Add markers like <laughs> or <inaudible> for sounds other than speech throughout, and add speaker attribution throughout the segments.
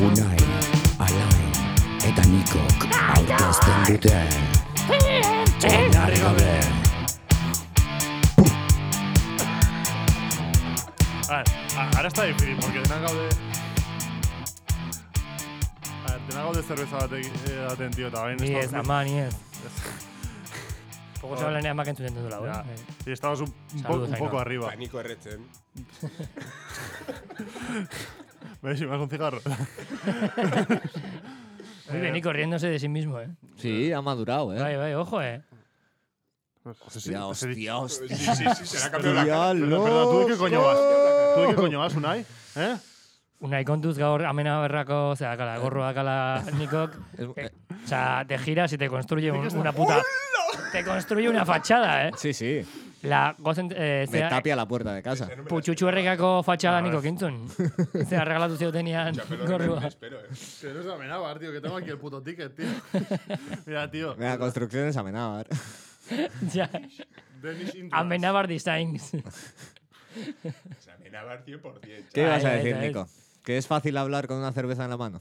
Speaker 1: Unai, Alain eta Nikok aurkezten dute Oinarri gabe
Speaker 2: A ver, a- Ah, ahora está difícil, porque dena gaude... A ver, dena gaude zerbeza bate, eh, baten, tío, eta bain...
Speaker 3: Ni ez, ama, ni ez. Poco
Speaker 2: Joder.
Speaker 3: se habla ni amak entzuten dudala,
Speaker 2: Ya.
Speaker 3: eh?
Speaker 2: Y estamos un, un, po-
Speaker 3: Saludos,
Speaker 2: un poco
Speaker 3: Ainhoa.
Speaker 2: arriba. <laughs>
Speaker 4: Paniko erretzen.
Speaker 2: ¿Veis? Y más un
Speaker 4: <laughs>
Speaker 2: cigarro.
Speaker 3: Muy bien, y corriéndose de sí mismo, eh.
Speaker 5: Sí, ha madurado, ¿eh?
Speaker 3: Vaya, vaya, ojo, eh.
Speaker 5: Hostia,
Speaker 2: pues,
Speaker 5: hostia, hostia.
Speaker 4: Sí, sí, sí, se le ha cambiado la cara.
Speaker 2: Pero, pero, ¿tú de qué coño vas? ¿Tú
Speaker 4: <laughs>
Speaker 2: de qué coño vas, Unai? ¿Eh?
Speaker 3: Unai kontuz gaur amena berrako, o sea,
Speaker 5: Eh.
Speaker 3: akala, gorro akala
Speaker 5: <laughs>
Speaker 3: nikok.
Speaker 5: Es- eh,
Speaker 3: O sea, te giras y te construye un- una puta... Te construye una fachada, eh.
Speaker 5: sí, sí.
Speaker 3: La gozen... Eh,
Speaker 5: Me
Speaker 3: zera,
Speaker 5: tapia la puerta de casa.
Speaker 3: Putxutxu herrikako fatxada niko
Speaker 5: <laughs>
Speaker 3: kintzun. Zera, regalatu ziotenean
Speaker 4: Txapelo
Speaker 3: gorrua. <laughs>
Speaker 4: horrekin espero, eh.
Speaker 2: Que no se amenaba, tío, que tengo aquí el puto ticket, tío. <laughs> Mira, tío.
Speaker 5: Mira, construcciones amenabar.
Speaker 3: Ja,
Speaker 2: Danish
Speaker 3: Amenabar Designs.
Speaker 4: Se amenaba 100%.
Speaker 5: <laughs> ¿Qué
Speaker 3: Ahí,
Speaker 5: ibas a
Speaker 3: ahí,
Speaker 5: decir,
Speaker 3: ahí.
Speaker 5: Nico? Que es fácil hablar con una cerveza en la mano.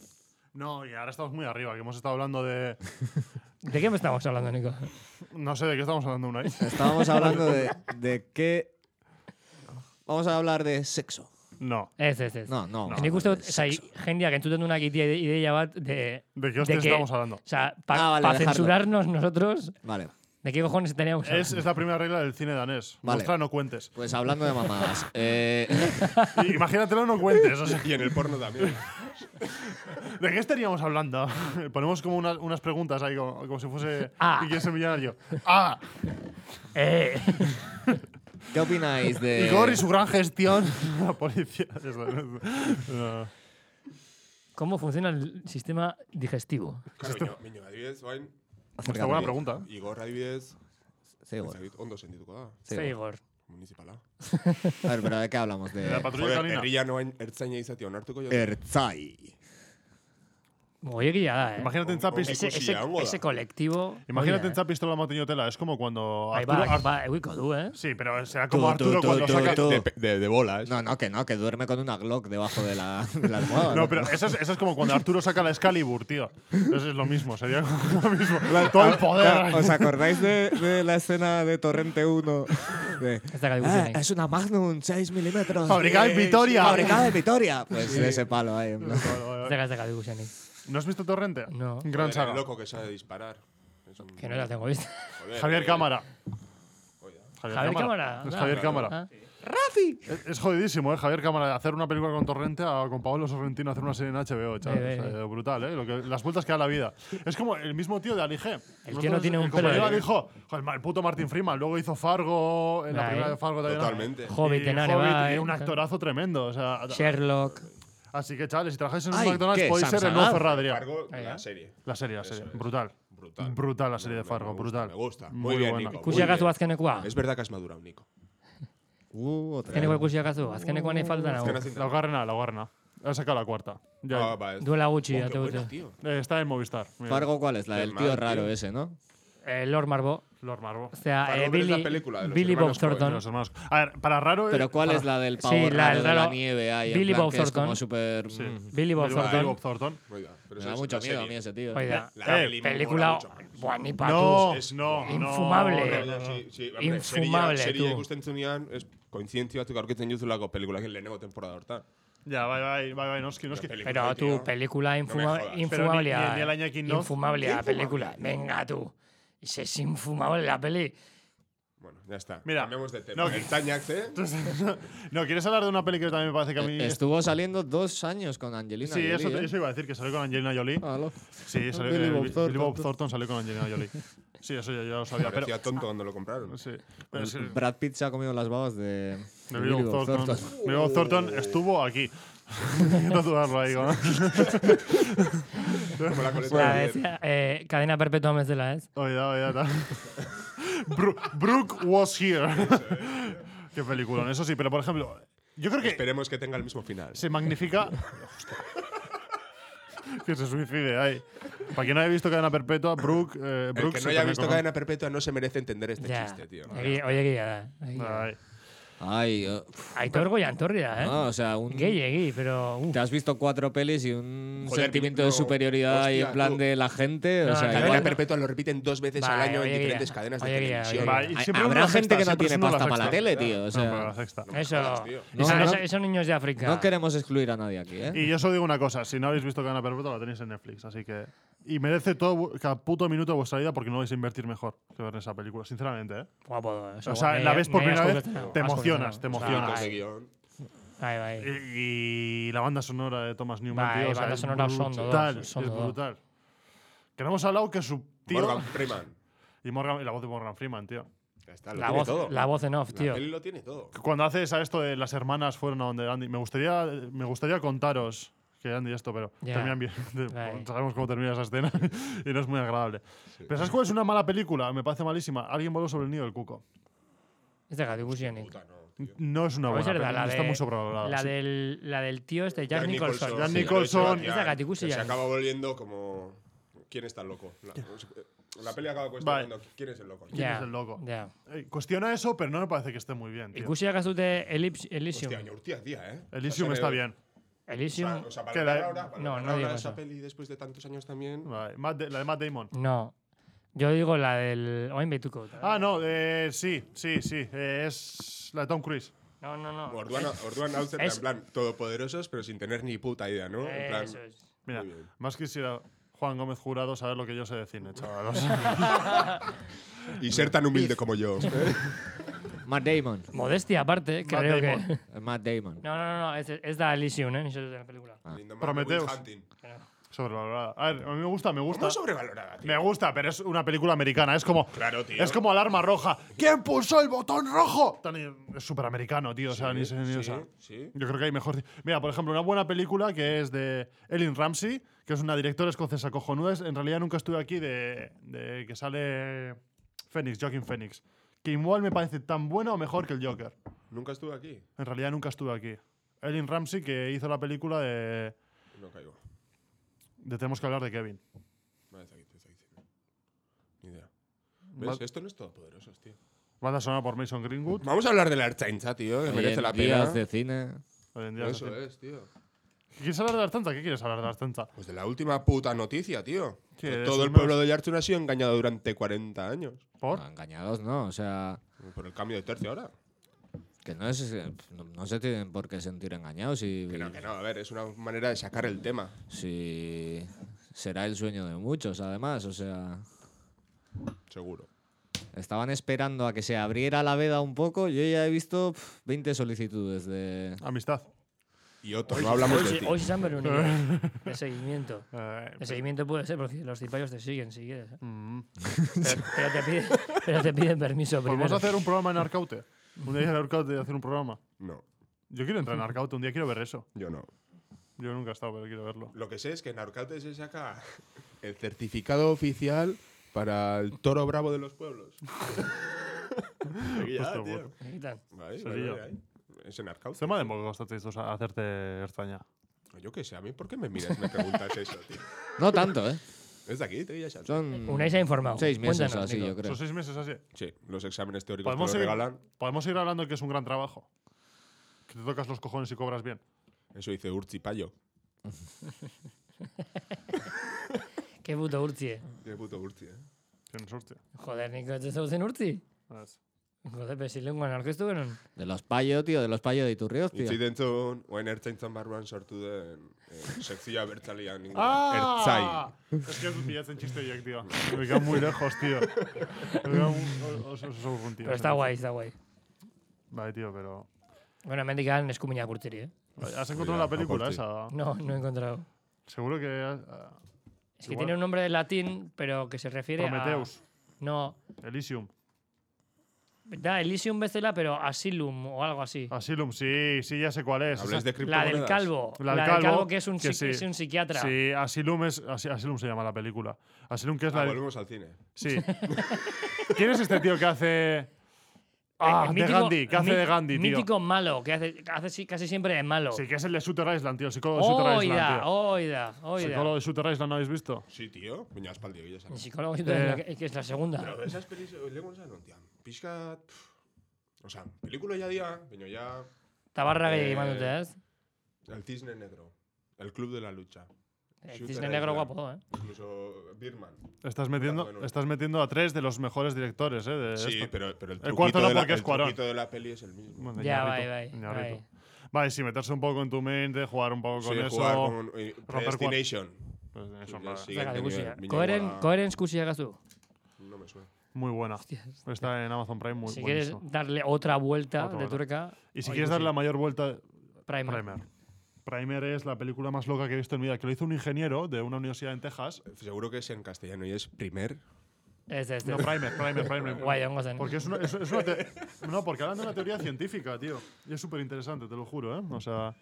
Speaker 2: No, y ahora estamos muy arriba, que hemos estado hablando de...
Speaker 3: ¿De qué me estamos hablando, Nico?
Speaker 2: No sé de qué estamos hablando,
Speaker 4: <laughs>
Speaker 2: Unai.
Speaker 5: Estábamos hablando de, de qué. Vamos a hablar de sexo.
Speaker 2: No.
Speaker 3: Ez, ez, ez.
Speaker 5: No, no. vamos a
Speaker 3: Nik
Speaker 5: hablar
Speaker 3: uste
Speaker 5: de
Speaker 3: dut, zai,
Speaker 5: sexo.
Speaker 3: jendeak entzuten duenak ide- ideia bat de...
Speaker 2: ¿De qué hostias
Speaker 3: que-
Speaker 2: estamos hablando?
Speaker 3: O sea, para
Speaker 5: Ah, vale, dejarlo.
Speaker 3: censurarnos nosotros,
Speaker 5: Vale,
Speaker 3: ¿de qué cojones teníamos?
Speaker 2: Es, es la primera regla del cine danés.
Speaker 5: Vale.
Speaker 2: Mostra, no cuentes.
Speaker 5: pues hablando de mamadas. eh, <laughs>
Speaker 2: I- Imagínatelo, no cuentes. o sea,
Speaker 4: Y en el
Speaker 2: <laughs>
Speaker 4: porno también.
Speaker 2: ¿De qué estaríamos hablando? <laughs> Ponemos como unas, unas preguntas ahí, como, como si fuese.
Speaker 3: Ah.
Speaker 2: ¿Quién quiere ser millonario? ¡Ah!
Speaker 3: Eh, <laughs>
Speaker 5: ¿Qué opináis de.
Speaker 2: Igor y su gran gestión. <laughs> la policía. Eso, eso. No.
Speaker 3: ¿Cómo funciona el sistema digestivo?
Speaker 4: Claro, miño, miño, adibidez, oain,
Speaker 5: Acércate,
Speaker 2: Está buena
Speaker 5: Igor.
Speaker 2: pregunta.
Speaker 4: Igor adibidez,
Speaker 5: Sí, Igor.
Speaker 4: ez dakit, ondo sentituko da,
Speaker 5: Sí, Igor.
Speaker 3: Igor.
Speaker 4: municipala.
Speaker 5: A ver, pero ¿de qué hablamos?
Speaker 2: La
Speaker 5: De.
Speaker 2: patrulla
Speaker 4: Joder,
Speaker 2: canina.
Speaker 4: herrian oain ertzaina izatea onartuko jo.
Speaker 5: Erzai.
Speaker 3: Goiegia da, eh.
Speaker 2: Imagínate
Speaker 4: Oh,
Speaker 2: en Zapis.
Speaker 3: ese,
Speaker 4: ikusi
Speaker 3: ese,
Speaker 4: dago da.
Speaker 3: ese colectivo...
Speaker 4: oh.
Speaker 2: Imagínate
Speaker 3: Oye,
Speaker 2: en Zapis toda la motiñotela. Es como cuando.
Speaker 3: Ahí
Speaker 2: Arturo-
Speaker 3: va,
Speaker 2: Ar-
Speaker 3: ahí va, euiko du, eh.
Speaker 2: sí, pero será como
Speaker 5: Tú,
Speaker 2: Arturo
Speaker 5: tú, tú,
Speaker 2: cuando
Speaker 5: tú,
Speaker 2: saca.
Speaker 5: tú.
Speaker 4: De, pe- de, de bolas.
Speaker 5: No, no, que no, que duerme con una Glock debajo de la, de la almohada.
Speaker 2: No, pero eso es, eso es como cuando Arturo saca la Excalibur, tío. Eso es lo mismo, sería como lo mismo. Todo el poder.
Speaker 5: Ah, ¿Os acordáis de, de la escena de Torrente 1? De,
Speaker 3: Esta que
Speaker 5: "Ah,
Speaker 3: dibujen ahí.
Speaker 5: es una Magnum 6 milímetros.
Speaker 2: Fabricada en Vitoria.
Speaker 5: Fabricada en Vitoria. Pues de ese palo ahí. ¿no?
Speaker 3: Esta que- esta que dibujen ahí.
Speaker 2: ¿No has visto Torrente?
Speaker 3: No.
Speaker 2: Gran
Speaker 4: Joder,
Speaker 2: saga.
Speaker 4: el loco que sabe disparar. Es un-
Speaker 3: Que no la tengo vista.
Speaker 4: joder,
Speaker 2: Javier
Speaker 4: eh,
Speaker 2: Cámara.
Speaker 4: Oiga.
Speaker 3: Javier Cámara.
Speaker 2: Es
Speaker 3: anda.
Speaker 2: Javier Cámara.
Speaker 3: Ah,
Speaker 2: Es, es jodidísimo, ¿eh? Javier Cámara. Hacer una película con Torrente a, con Pablo Sorrentino hacer una serie en HBO, chaval.
Speaker 3: Eh, eh,
Speaker 2: O sea, brutal, ¿eh? Lo que, las vueltas que da la vida. Es como el mismo tío de Alige. Nosotros-
Speaker 3: tío no tiene un
Speaker 2: el
Speaker 3: pelo
Speaker 2: compañero
Speaker 3: de-
Speaker 2: de dijo, "Joder, ma- el puto Martin Freeman. Luego hizo Fargo, en la
Speaker 3: Nah,
Speaker 2: primera
Speaker 3: eh.
Speaker 2: de Fargo también.
Speaker 4: Totalmente.
Speaker 2: Y
Speaker 3: Hobbit, enare,
Speaker 2: Hobbit,
Speaker 3: va,
Speaker 2: y
Speaker 3: eh. er-
Speaker 2: un actorazo tremendo. O sea,
Speaker 3: Sherlock.
Speaker 2: así que, chavales, si trabajáis en un
Speaker 5: Ay,
Speaker 2: McDonald's
Speaker 5: ¿qué?
Speaker 2: podéis ser el
Speaker 5: Samsonite.
Speaker 2: nuevo Ferradria.
Speaker 4: Fargo,
Speaker 3: Ahí va.
Speaker 4: la serie.
Speaker 2: La serie, la serie.
Speaker 4: Eso es.
Speaker 2: Brutal.
Speaker 4: Brutal.
Speaker 2: Brutal la serie
Speaker 4: Me-
Speaker 2: de Fargo,
Speaker 4: me gusta,
Speaker 2: brutal.
Speaker 4: Me gusta. Muy,
Speaker 2: Muy
Speaker 4: bien,
Speaker 2: buena.
Speaker 4: Nico. muy
Speaker 3: Kusiakazu
Speaker 2: eh.
Speaker 4: bien. Ah,
Speaker 3: azkenekoa.
Speaker 4: Es verdad que has madurado, Nico.
Speaker 5: Uh, otra.
Speaker 3: Azkeneko ikusiakazu. Azkenekoan nahi falta nago.
Speaker 4: Azkenean-
Speaker 2: La hogarrena, la hogarrena. Ha sacado la cuarta. Ya.
Speaker 4: Ah, va, es-
Speaker 3: Duela gutxi,
Speaker 4: Oh, qué
Speaker 3: date
Speaker 4: buena,
Speaker 3: gutxi.
Speaker 4: tío.
Speaker 2: Eh, está en Movistar. mira.
Speaker 5: Fargo, ¿cuál es? La
Speaker 4: Qué
Speaker 5: del
Speaker 4: mal,
Speaker 5: tío
Speaker 4: tío.
Speaker 5: raro ese, ¿no?
Speaker 3: Eh, Lord Marbo.
Speaker 2: Los Marvel.
Speaker 3: O sea,
Speaker 4: Fargo,
Speaker 3: eh,
Speaker 4: pero es la
Speaker 3: Billy,
Speaker 4: película de los
Speaker 3: Billy Bob
Speaker 4: hermanos Coen,
Speaker 3: Thornton.
Speaker 2: Los hermanos. A ver, para raro. eh,
Speaker 5: Pero ¿cuál
Speaker 2: para-
Speaker 5: es la del pavo
Speaker 3: Ah, Sí, la
Speaker 5: raro
Speaker 3: del
Speaker 5: de la
Speaker 3: raro-
Speaker 5: nieve ahí? en
Speaker 3: Billy
Speaker 5: plan
Speaker 3: Bob
Speaker 5: que es como
Speaker 3: Thornton.
Speaker 5: súper...
Speaker 2: Sí.
Speaker 5: mm,
Speaker 3: Billy Bob
Speaker 2: Billy Bob- Billy
Speaker 3: Thornton.
Speaker 2: Bob Thornton.
Speaker 4: Oiga, pero
Speaker 5: Me
Speaker 4: eso
Speaker 5: da
Speaker 4: es
Speaker 5: mucho
Speaker 4: la
Speaker 5: miedo a
Speaker 4: serie.
Speaker 5: mí ese tío.
Speaker 3: Oida,
Speaker 4: La
Speaker 2: Eh,
Speaker 4: peli me mola
Speaker 3: película
Speaker 4: mucho más.
Speaker 3: buah, ni pa'
Speaker 2: No,
Speaker 3: tus.
Speaker 2: es no, no.
Speaker 3: Infumable.
Speaker 2: no,
Speaker 4: Ja,
Speaker 2: no, no.
Speaker 4: sí, sí, hombre,
Speaker 3: Infumable,
Speaker 4: serie,
Speaker 3: tú.
Speaker 4: serie ikusten zunean, ez, kointzientzia batzuk aurkitzen juzulako pelikulak lehenengo temporada hortan.
Speaker 2: Ya, bai, bai, bai, bai, noski, noski.
Speaker 4: Película,
Speaker 3: Pero
Speaker 4: tío.
Speaker 3: tu película infuma,
Speaker 4: jodas.
Speaker 3: infumable.
Speaker 2: Pero ni- ni el Iñaki, ¿no?
Speaker 3: Infumable la película. Venga tú. Y si es infumable la peli.
Speaker 4: Bueno, ya está.
Speaker 2: Mira,
Speaker 4: Cambiamos de tema.
Speaker 2: no,
Speaker 4: No,
Speaker 2: que-
Speaker 4: el Tañax, ¿eh?
Speaker 2: <laughs> No, ¿quieres hablar de una peli que también me parece que a mí.
Speaker 5: Estuvo saliendo dos años con Eh, Angelina
Speaker 2: Sí, eso,
Speaker 5: Jolie, ¿eh?
Speaker 2: eso iba a decir, que salió con Angelina Jolie.
Speaker 5: Aló.
Speaker 2: Sí, salió,
Speaker 5: Billy
Speaker 2: eh,
Speaker 5: Bob
Speaker 2: Billy
Speaker 5: Thornton.
Speaker 2: Bob Thornton salió con Angelina Jolie. Sí, eso ya, ya lo sabía. Pero,
Speaker 4: Parecía tonto cuando lo
Speaker 3: <laughs>
Speaker 4: compraron.
Speaker 2: sí, pero sí,
Speaker 5: Brad Pitt se ha comido las babas de...
Speaker 2: De Billy Bob Thornton. Billy Bob Thornton estuvo aquí. <laughs> Quiero dudarlo ahí, ¿no?
Speaker 4: Como la coleta
Speaker 3: La
Speaker 4: de-
Speaker 3: vez, eh, cadena perpetua me zela, ez?
Speaker 2: Oida, oida, ta. Bru- Brooke was here. Qué película, eso sí, pero por ejemplo, yo creo que
Speaker 4: Esperemos que tenga el mismo final.
Speaker 2: se magnifica. que se suicide ahí. Para quien no haya visto Cadena Perpetua, Brooke. Eh,
Speaker 4: El
Speaker 2: Brooke
Speaker 4: que
Speaker 2: se
Speaker 4: no haya
Speaker 2: pone
Speaker 4: visto
Speaker 2: con-
Speaker 4: cadena perpetua no se merece entender este
Speaker 3: Ja.
Speaker 4: chiste, tío.
Speaker 3: Egi- Oiegia da. egia da.
Speaker 2: Ay.
Speaker 5: Ay, eh, pf,
Speaker 3: Aitor Goyantorria, ¿eh?
Speaker 5: no, o sea, un...
Speaker 3: Gay, gay, pero... uh.
Speaker 5: Te has visto cuatro pelis y un
Speaker 4: Joder,
Speaker 5: sentimiento
Speaker 4: no.
Speaker 5: de superioridad y
Speaker 4: Hostia,
Speaker 5: en plan
Speaker 4: tú.
Speaker 5: de la gente.
Speaker 3: No,
Speaker 5: o sea,
Speaker 3: cadena
Speaker 5: igual-
Speaker 4: Cadena Perpetua lo repiten dos veces al
Speaker 3: Vale,
Speaker 4: año en
Speaker 3: oye,
Speaker 4: diferentes
Speaker 3: guía.
Speaker 4: cadenas de
Speaker 3: Oye, guía,
Speaker 4: televisión.
Speaker 3: oye, guía.
Speaker 2: Va, y
Speaker 5: Ay,
Speaker 2: siempre uno
Speaker 5: habrá
Speaker 2: la
Speaker 5: gente
Speaker 2: sexta,
Speaker 5: que no
Speaker 2: siempre
Speaker 5: tiene
Speaker 2: es uno
Speaker 5: pasta
Speaker 2: la
Speaker 5: para la
Speaker 2: sexta.
Speaker 5: tele, tío. O
Speaker 2: No, pero la
Speaker 5: sea,
Speaker 2: sexta.
Speaker 3: Eso.
Speaker 4: jodas, tío.
Speaker 3: Eso-
Speaker 5: No, no.
Speaker 3: eso- Esos niños de África.
Speaker 5: no queremos excluir a nadie aquí, ¿eh?
Speaker 2: Y yo solo digo una cosa, si no habéis visto Cadena Perpetua, la tenéis en Netflix, así que... Y merece todo, vu- cada puto minuto de vuestra vida porque no vais a invertir mejor que ver esa película, sinceramente, ¿eh?
Speaker 3: Guapo, eso,
Speaker 2: O sea,
Speaker 3: me-
Speaker 2: la ves por
Speaker 3: me este
Speaker 2: primera vez,
Speaker 3: has conquistado,
Speaker 2: te
Speaker 3: has
Speaker 2: emocionas, te
Speaker 3: conquistado.
Speaker 2: emocionas.
Speaker 4: Ese
Speaker 3: Ay,
Speaker 4: guión.
Speaker 3: Ay, ay.
Speaker 2: Eh, Y, y la banda sonora de Thomas Newman,
Speaker 3: Vale,
Speaker 2: tío, o sea,
Speaker 3: banda
Speaker 2: es
Speaker 3: sonora
Speaker 2: brutal,
Speaker 3: Sondo dos, Sondo
Speaker 2: es
Speaker 3: dos.
Speaker 2: brutal. Que no hemos hablado que su tío...
Speaker 4: Morgan Freeman.
Speaker 2: Y, Morgan- y la voz de Morgan Freeman, tío.
Speaker 4: Ya está, lo
Speaker 3: La
Speaker 4: tiene
Speaker 3: voz,
Speaker 4: todo.
Speaker 3: la voz en off,
Speaker 4: La
Speaker 3: tío.
Speaker 4: peli lo tiene todo.
Speaker 2: Cuando haces a esto de las hermanas fueron a donde Andy, me gustaría, me gustaría contaros que Andy esto, pero
Speaker 3: Ya.
Speaker 2: terminan bien. <laughs>
Speaker 3: Vale.
Speaker 2: Sabemos cómo termina esa escena <laughs> y no es muy agradable. Pero ¿sabes cuál es una mala película? Me parece malísima. Alguien voló sobre el nido del cuco.
Speaker 3: Este Es de Gadu Busionic.
Speaker 4: Puta, no, tío.
Speaker 2: No es una buena
Speaker 3: Pues es verdad,
Speaker 2: película.
Speaker 3: la
Speaker 2: Está
Speaker 3: de-
Speaker 2: muy sobrevalorada.
Speaker 3: La
Speaker 2: sí.
Speaker 3: del, la del tío este, Jack
Speaker 4: Jack
Speaker 3: Nicholson.
Speaker 2: Jack
Speaker 4: sí,
Speaker 2: Nicholson.
Speaker 4: creo que
Speaker 3: Es
Speaker 4: ya-
Speaker 3: de Gatikusi
Speaker 4: que Se
Speaker 3: ya.
Speaker 4: acaba volviendo como. ¿Quién está el loco? La, eh, la peli acaba cuestionando quién es el loco.
Speaker 2: ¿Quién
Speaker 3: Ya,
Speaker 2: es el loco?
Speaker 3: ya.
Speaker 2: Eh, Cuestiona eso, pero no me parece que esté muy bien. tío.
Speaker 3: Ikusi Akazute Elips- Elysium.
Speaker 4: Hostia, Urtia, tía, ¿eh?
Speaker 2: Elysium
Speaker 4: O sea,
Speaker 2: está
Speaker 4: que-
Speaker 2: bien.
Speaker 4: O sea,
Speaker 3: Elysium.
Speaker 4: o sea,
Speaker 2: Que
Speaker 4: para
Speaker 2: la-
Speaker 4: la, ahora, para
Speaker 3: no,
Speaker 4: hablar
Speaker 3: no
Speaker 4: ahora
Speaker 3: digo
Speaker 4: de esa
Speaker 3: eso.
Speaker 4: peli después de tantos años también.
Speaker 2: Vale. Matt Da- la de Matt Damon.
Speaker 3: No. Yo digo la del. Owen Betuco.
Speaker 2: Ah, no, eh, sí, sí, sí. eh, es la de Tom Cruise.
Speaker 3: No, no, no.
Speaker 4: Orduan, Orduan Alcen,
Speaker 3: es-
Speaker 4: en plan, todopoderosos, pero sin tener ni puta idea, ¿no? En plan,
Speaker 3: Eh, Eso es.
Speaker 2: Mira,
Speaker 4: Muy bien.
Speaker 2: más quisiera Juan Gómez Jurado saber lo que yo sé de cine, chavalos.
Speaker 4: y ser tan humilde
Speaker 2: <laughs>
Speaker 4: como yo.
Speaker 5: Matt Damon.
Speaker 3: Modestia aparte,
Speaker 2: Matt
Speaker 3: creo que.
Speaker 2: Damon.
Speaker 5: Matt Damon.
Speaker 3: <laughs> No, no, no, no, es, es la Elysium, ¿eh? Eso es de la película.
Speaker 4: Lindemann,
Speaker 2: Prometeus.
Speaker 4: Will Hunting.
Speaker 2: <laughs> Sobrevalorada. A ver, a mí me gusta, me gusta.
Speaker 4: ¿Cómo sobrevalorada, tío?
Speaker 2: Me gusta, pero es una película americana. Es como.
Speaker 4: Claro, tío.
Speaker 2: Es como alarma roja. ¿Quién pulsó el botón rojo? Tan- Es súper americano, tío. o sea, ni se- ni- o
Speaker 4: Sí,
Speaker 2: sea,
Speaker 4: sí.
Speaker 2: Yo creo que hay mejor. Mira, por ejemplo, una buena película que es de Ellen Ramsey, que es una directora escocesa cojonuda. es- En realidad nunca estuve aquí de, de que sale Phoenix, Joaquin Phoenix. Que igual me parece tan buena o mejor que el Joker.
Speaker 4: Nunca estuve aquí.
Speaker 2: En realidad nunca estuve aquí. Ellen Ramsey que hizo la película de,
Speaker 4: No caigo.
Speaker 2: de Tenemos que hablar de Kevin.
Speaker 4: No, está aquí, está aquí. Ni idea. ¿Ves? Esto no es todopoderosos, tío.
Speaker 2: Banda sonora por Mason Greenwood.
Speaker 4: Vamos a hablar de la Archancha, tío, que
Speaker 5: Oye,
Speaker 4: merece
Speaker 5: en
Speaker 4: la pena.
Speaker 5: días de cine.
Speaker 2: Hoy en día es
Speaker 4: Eso
Speaker 2: así.
Speaker 4: es, tío.
Speaker 2: ¿Quieres hablar de Artanza? ¿Qué quieres hablar de Artanza?
Speaker 4: Pues de la última puta noticia, tío.
Speaker 2: Sí,
Speaker 4: Que
Speaker 2: es
Speaker 4: todo el
Speaker 2: unos-
Speaker 4: pueblo de Yartun ha sido engañado durante 40 años.
Speaker 2: ¿Por?
Speaker 5: No, engañados no, o sea,
Speaker 4: Por el cambio de tercio ahora.
Speaker 5: que no, es, no, no se tienen por qué sentir engañados y
Speaker 4: Que no, que no, a ver, es una manera de sacar el tema.
Speaker 5: si será el sueño de muchos, además, o sea,
Speaker 4: Seguro.
Speaker 5: estaban esperando a que se abriera la veda un poco, yo ya he visto pf, 20 solicitudes de...
Speaker 2: Amistad.
Speaker 4: Y otro, no hablamos
Speaker 3: Hoy,
Speaker 4: de
Speaker 3: sí-
Speaker 4: ti.
Speaker 3: hoy sí se
Speaker 2: <laughs>
Speaker 3: han reunido. De seguimiento.
Speaker 2: Eh,
Speaker 3: De seguimiento puede ser, porque los cipayos te siguen si
Speaker 2: <laughs>
Speaker 3: quieres. ¿eh?
Speaker 2: mm.
Speaker 3: Pero te piden, pero te piden permiso
Speaker 2: Podemos
Speaker 3: primero.
Speaker 2: hacer un programa en Arcaute. Un día ir a Arcaute y hacer un programa.
Speaker 4: No,
Speaker 2: Yo quiero entrar en Arcaute, un día quiero ver eso.
Speaker 4: yo no.
Speaker 2: Yo nunca he estado, pero quiero verlo.
Speaker 4: Lo que sé es que en Arcaute se saca el certificado oficial para el toro bravo de los pueblos. Aquí ya,
Speaker 2: Justo,
Speaker 4: tío.
Speaker 2: bueno.
Speaker 3: Me quitan.
Speaker 4: Vale,
Speaker 2: Sería.
Speaker 4: vale, vale, ahí. Es en Arcaute.
Speaker 2: Se me ha demorado bastante esto a hacerte extraña.
Speaker 4: Yo qué sé, a mí, ¿por qué me miras y
Speaker 2: <laughs>
Speaker 4: me preguntas eso, tío?
Speaker 5: No tanto, ¿eh?
Speaker 4: Es de aquí, te ya sabes.
Speaker 5: Son
Speaker 3: Unai se ha informado.
Speaker 5: seis meses
Speaker 3: Cuéntanos,
Speaker 5: así,
Speaker 3: Nico.
Speaker 5: yo creo.
Speaker 2: Son seis meses así.
Speaker 4: Sí, los exámenes teóricos te
Speaker 2: Podemos
Speaker 4: los
Speaker 2: seguir-
Speaker 4: regalan.
Speaker 2: Podemos ir hablando que es un gran trabajo. Que te tocas los cojones y cobras bien.
Speaker 4: Eso dice Urchi Payo.
Speaker 3: Qué puto Urti. eh.
Speaker 4: Qué puto Urchi, ¿eh?
Speaker 2: Tienes hostia.
Speaker 3: Joder, Nico, ¿te estás en Urti? Joder, pero si lengua en arquestu non.
Speaker 5: De los payo, tío, de los payo de Iturrios, tío.
Speaker 4: Itzi dentzun, oen ertzaintzan barruan sortu den eh, sekzioa bertzalian ingo.
Speaker 2: ¡Ah!
Speaker 4: Ertzain.
Speaker 2: Es que os pilláis en chiste yo, tío. Me quedan muy lejos, tío. Me quedan un- os- os- os aburro, tío.
Speaker 3: Pero está guay, está guy.
Speaker 2: Vale, tío, pero.
Speaker 3: Bueno, hemendik han eskuminak urtiri, eh?
Speaker 2: ¿Has encontrado la película
Speaker 4: aporte.
Speaker 2: esa?
Speaker 3: No, no he encontrado.
Speaker 2: Seguro que. ah,
Speaker 3: Es que
Speaker 2: Igual.
Speaker 3: tiene un nombre de latín, pero que se refiere
Speaker 2: Prometheus,
Speaker 3: a... No,
Speaker 2: Elysium.
Speaker 3: da Elysium bezala, pero Asylum o algo así.
Speaker 2: Asylum, sí, sí, ya sé cuál es.
Speaker 4: Hablas de
Speaker 3: La
Speaker 4: criptomonedas.
Speaker 3: del calvo.
Speaker 2: La del
Speaker 3: del
Speaker 2: calvo,
Speaker 3: calvo, que es un,
Speaker 2: que
Speaker 3: psi-
Speaker 2: sí.
Speaker 3: es un psiquiatra. Eh,
Speaker 2: Sí, Asylum, es, Asi- Asylum se llama la película. Asylum, que es la.
Speaker 4: Ah, volvemos al cine. <laughs>
Speaker 2: Sí. ¿Quién es este tío que hace. Ah,
Speaker 3: Eh, El
Speaker 2: de
Speaker 3: mítico-
Speaker 2: Gandhi, que hace
Speaker 3: mí-
Speaker 2: de Gandhi, tío.
Speaker 3: Mítico malo, que hace, que hace si- casi siempre es malo.
Speaker 2: Sí, que es el de Shooter Island, tío, el psicólogo de
Speaker 3: Oh,
Speaker 2: Shooter Island.
Speaker 3: Oida,
Speaker 2: Tío.
Speaker 3: oida,
Speaker 2: psicólogo
Speaker 3: oida.
Speaker 2: de Shooter Island, ¿no habéis visto?
Speaker 4: Sí, tío. Baina aspaldi egia esan.
Speaker 3: El psicólogo
Speaker 2: Eh.
Speaker 3: que, que es la segunda.
Speaker 4: eh, Pero esas pelis, lehenko esan, ontian. Pixkat... pff, Osa, pelikula ja dia, baina ja
Speaker 3: Tabarra
Speaker 4: Eh,
Speaker 3: gehiagin mandute, ez?
Speaker 4: El Cisne Negro, El Club de la Lucha.
Speaker 3: Eh,
Speaker 4: Shooter
Speaker 3: Cisne negro
Speaker 4: Island,
Speaker 3: guapo, eh.
Speaker 4: Incluso Birman.
Speaker 2: Estás metiendo,
Speaker 4: bueno.
Speaker 2: estás metiendo a tres de los mejores directores, ¿eh? de
Speaker 4: Sí,
Speaker 2: esto.
Speaker 4: pero, pero el,
Speaker 2: El
Speaker 4: truquito
Speaker 2: cuarto no,
Speaker 4: de la,
Speaker 2: porque es
Speaker 4: el
Speaker 2: Cuarón.
Speaker 4: truquito de la peli es el mismo.
Speaker 2: Bueno,
Speaker 3: Ya,
Speaker 2: Iñárritu,
Speaker 3: bai, bai,
Speaker 2: Iñárritu.
Speaker 3: bai.
Speaker 2: Vale, sí, meterse un poco en tu mente, jugar un poco con
Speaker 4: sí,
Speaker 2: eso.
Speaker 4: jugar con eh,
Speaker 2: cuar-
Speaker 4: Predestination.
Speaker 2: Pues de eso,
Speaker 4: Ya
Speaker 2: nada.
Speaker 4: sí.
Speaker 3: Zaka,
Speaker 4: Siguiente
Speaker 3: ikusi.
Speaker 4: nivel, minimo
Speaker 3: Koheren,
Speaker 4: da.
Speaker 3: koheren eskusi agazu.
Speaker 4: No me suena.
Speaker 2: Muy buena. Está en Amazon Prime, muy
Speaker 3: Si quieres
Speaker 2: buenísimo.
Speaker 3: darle otra vuelta
Speaker 2: Otra
Speaker 3: de
Speaker 2: vuelta.
Speaker 3: tuerca.
Speaker 2: Y si
Speaker 3: o
Speaker 2: quieres
Speaker 3: ikusi.
Speaker 2: dar la mayor vuelta,
Speaker 3: Primer.
Speaker 2: Primer. Primer es la película más loca que he visto en mi vida, que lo hizo un ingeniero de una universidad en Texas.
Speaker 4: Seguro que es en castellano y es primer.
Speaker 3: Ez, ez,
Speaker 2: No,
Speaker 3: ez.
Speaker 2: Primer, Primer, Primer.
Speaker 3: Guai, ongo zen.
Speaker 2: Porque es una, es- es una te- no, porque hablan de una teoría científica, tío. Y es súper interesante, te lo juro, ¿eh? O sea,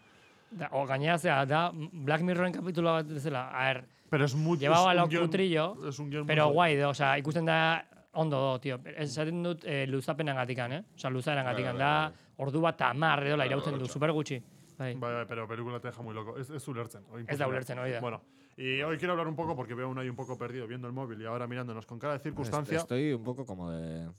Speaker 3: Da, o gainera, zera, da Black Mirrorren kapitula bat bezala. A ver,
Speaker 2: pero es muy.
Speaker 3: Llevaba
Speaker 2: es un
Speaker 3: lo
Speaker 2: guión-
Speaker 3: cutrillo,
Speaker 2: Es un guion
Speaker 3: pero guai, do, sea, ikusten da ondo do, tío. Esaten dut eh, luzapenan gatikan, eh? Osa, luzapenan gatikan.
Speaker 4: Bai, bai,
Speaker 3: Da,
Speaker 4: bai,
Speaker 3: ordu bat eta amar, edo la irauten du,
Speaker 4: hortxa.
Speaker 3: super gutxi. Bai.
Speaker 2: pero película te deja muy loco. Es, es Ulertzen. o
Speaker 3: Ez da ulertzen, hori da.
Speaker 2: Bueno, y hoy quiero hablar un poco porque veo a uno ahí un poco perdido viendo el móvil y ahora mirándonos con cara de circunstancia.
Speaker 5: Estoy un poco como de.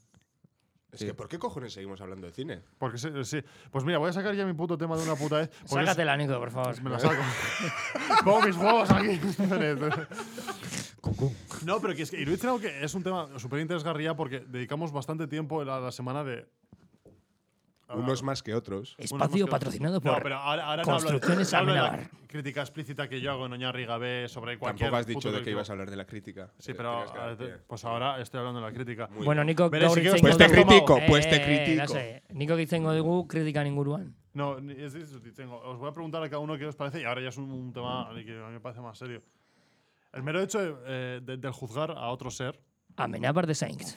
Speaker 4: Es
Speaker 5: Sí.
Speaker 4: que, ¿por qué cojones seguimos hablando de cine?
Speaker 2: Porque sí, sí. Pues mira, voy a sacar ya mi puto tema de una puta vez. porque es-
Speaker 3: Sácatela, Nico, por favor.
Speaker 2: Me la saco. <laughs> Pongo mis huevos aquí. <laughs> no, pero que es que iruditzen hau que es un tema súper interesgarria porque dedicamos bastante tiempo a la, la semana de. a-
Speaker 4: Unos más que otros.
Speaker 2: unas
Speaker 3: Espacio
Speaker 2: moscas.
Speaker 3: patrocinado por...
Speaker 2: No, pero ahora, ahora no hablo de-
Speaker 3: Construcciones
Speaker 2: hablo de la
Speaker 3: Amenábar.
Speaker 2: crítica explícita que yo hago en Oñarri Gabé sobre cualquier.
Speaker 4: Tampoco has
Speaker 2: puto
Speaker 4: dicho de que
Speaker 2: colectivo.
Speaker 4: ibas a hablar de la crítica.
Speaker 2: Sí,
Speaker 4: Eh,
Speaker 2: pero
Speaker 4: tenías que
Speaker 2: ahora
Speaker 4: dar
Speaker 2: te- <laughs>
Speaker 4: pie.
Speaker 2: pues ahora estoy hablando de la crítica.
Speaker 4: Muy
Speaker 3: Bueno,
Speaker 4: bien.
Speaker 3: Nico
Speaker 2: Bere,
Speaker 3: gaur
Speaker 2: si quieres,
Speaker 3: itzengo
Speaker 4: pues te
Speaker 3: dugu-
Speaker 4: critico,
Speaker 3: Eh,
Speaker 4: pues te
Speaker 3: eh, eh,
Speaker 4: critico.
Speaker 3: lasai. Nikok itzengo dugu kritikan inguruan.
Speaker 2: No, ni- es, es- tengo- os voy a preguntar a cada uno qué os parece y ahora ya es un, un tema que a mí me parece más serio. El mero hecho de, eh, de- del juzgar a otro ser.
Speaker 3: Amenabar de Saints.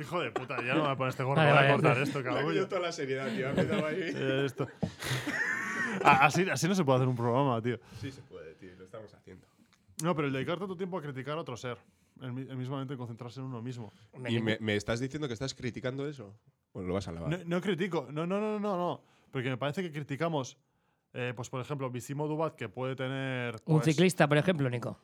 Speaker 2: Hijo de puta, ya no me voy a poner este gorro
Speaker 3: Vale,
Speaker 2: voy
Speaker 3: vale.
Speaker 2: a cortar esto,
Speaker 4: Le ha cogido
Speaker 2: cabrón.
Speaker 4: toda la seriedad, tío. Ha
Speaker 2: <laughs>
Speaker 4: empezado ahí.
Speaker 2: Eh, esto. A- así, así no se puede hacer un programa, tío.
Speaker 4: Sí se puede, tío. Lo estamos haciendo.
Speaker 2: No, pero el dedicar tanto tiempo a criticar a otro ser. El, mi- el mismamente concentrarse en uno mismo.
Speaker 4: ¿Y me, me estás diciendo que estás criticando eso? Pues lo vas a lavar.
Speaker 2: No, no critico, no, no, no, no, no. Porque me parece que criticamos, eh, pues por ejemplo, Vicimo Dubat, que puede tener.
Speaker 3: Un
Speaker 2: pues-
Speaker 3: ciclista, por ejemplo, Nico.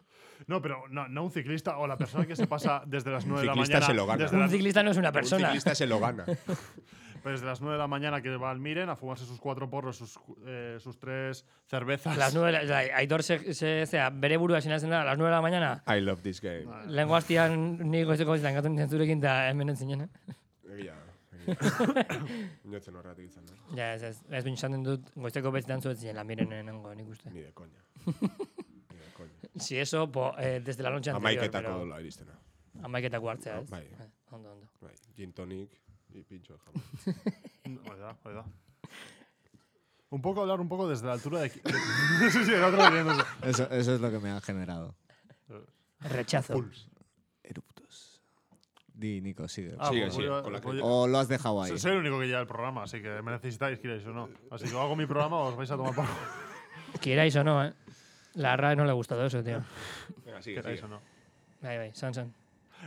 Speaker 2: No, pero no, no un ciclista o la persona que se pasa
Speaker 4: <laughs>
Speaker 2: desde las 9 de la
Speaker 4: ciclista
Speaker 2: mañana.
Speaker 4: se lo gana.
Speaker 2: Desde
Speaker 3: Un
Speaker 2: las,
Speaker 3: ciclista no es una
Speaker 4: Un
Speaker 3: persona.
Speaker 4: ciclista se lo gana.
Speaker 2: pues desde las 9 de la mañana que va al Miren a fumarse sus cuatro porros, sus, cu- eh, sus tres cervezas. <laughs>
Speaker 3: Las nueve, de la- o sea, Aitor se, se, "Ah, zera, bere burua sinatzen da, las nueve de la mañana.
Speaker 4: I love this game.
Speaker 3: Lehen guaztian nik goizeko goizetan gaten nintzen zurekin eta hemen entzinen.
Speaker 4: Egia. Notzen horretik izan, eh?
Speaker 3: Ja, ez, ez, ez bintxaten dut goizeko betzitan zuetzen lan miren nengo nik uste.
Speaker 4: Ni de coña.
Speaker 2: <laughs>
Speaker 4: Ni de coña.
Speaker 3: Si eso, po, eh, desde la noche anterior,
Speaker 4: Amaiketako
Speaker 3: pero
Speaker 4: dola iristena.
Speaker 3: amaiketako hartzea, ez?
Speaker 4: Bai.
Speaker 3: Eh, Ondo, ondo.
Speaker 4: Bai, gin tonic y pincho de jamón.
Speaker 2: Verdad, verdad. pues Un poco hablar un poco desde la altura de. de- <laughs> sí, sí, el otro riéndose.
Speaker 5: Eso, eso es lo que me ha generado.
Speaker 3: Rechazo.
Speaker 5: Eruptos. Di, Nico, sigue.
Speaker 2: Ah,
Speaker 4: Sigue,
Speaker 2: pues
Speaker 4: sigue,
Speaker 2: voy a-
Speaker 4: con la
Speaker 2: voy a-
Speaker 5: o lo has dejado ahí.
Speaker 2: Soy el único que lleva el programa, así que me necesitáis, queréis o no. Así que o hago mi programa o os vais a tomar por
Speaker 3: Quierais o no, eh? La RAE no le ha gustado eso, tío.
Speaker 4: <laughs> Venga, sigue,
Speaker 2: queráis
Speaker 4: sigue.
Speaker 2: o no.
Speaker 3: Bai, bai, san, san.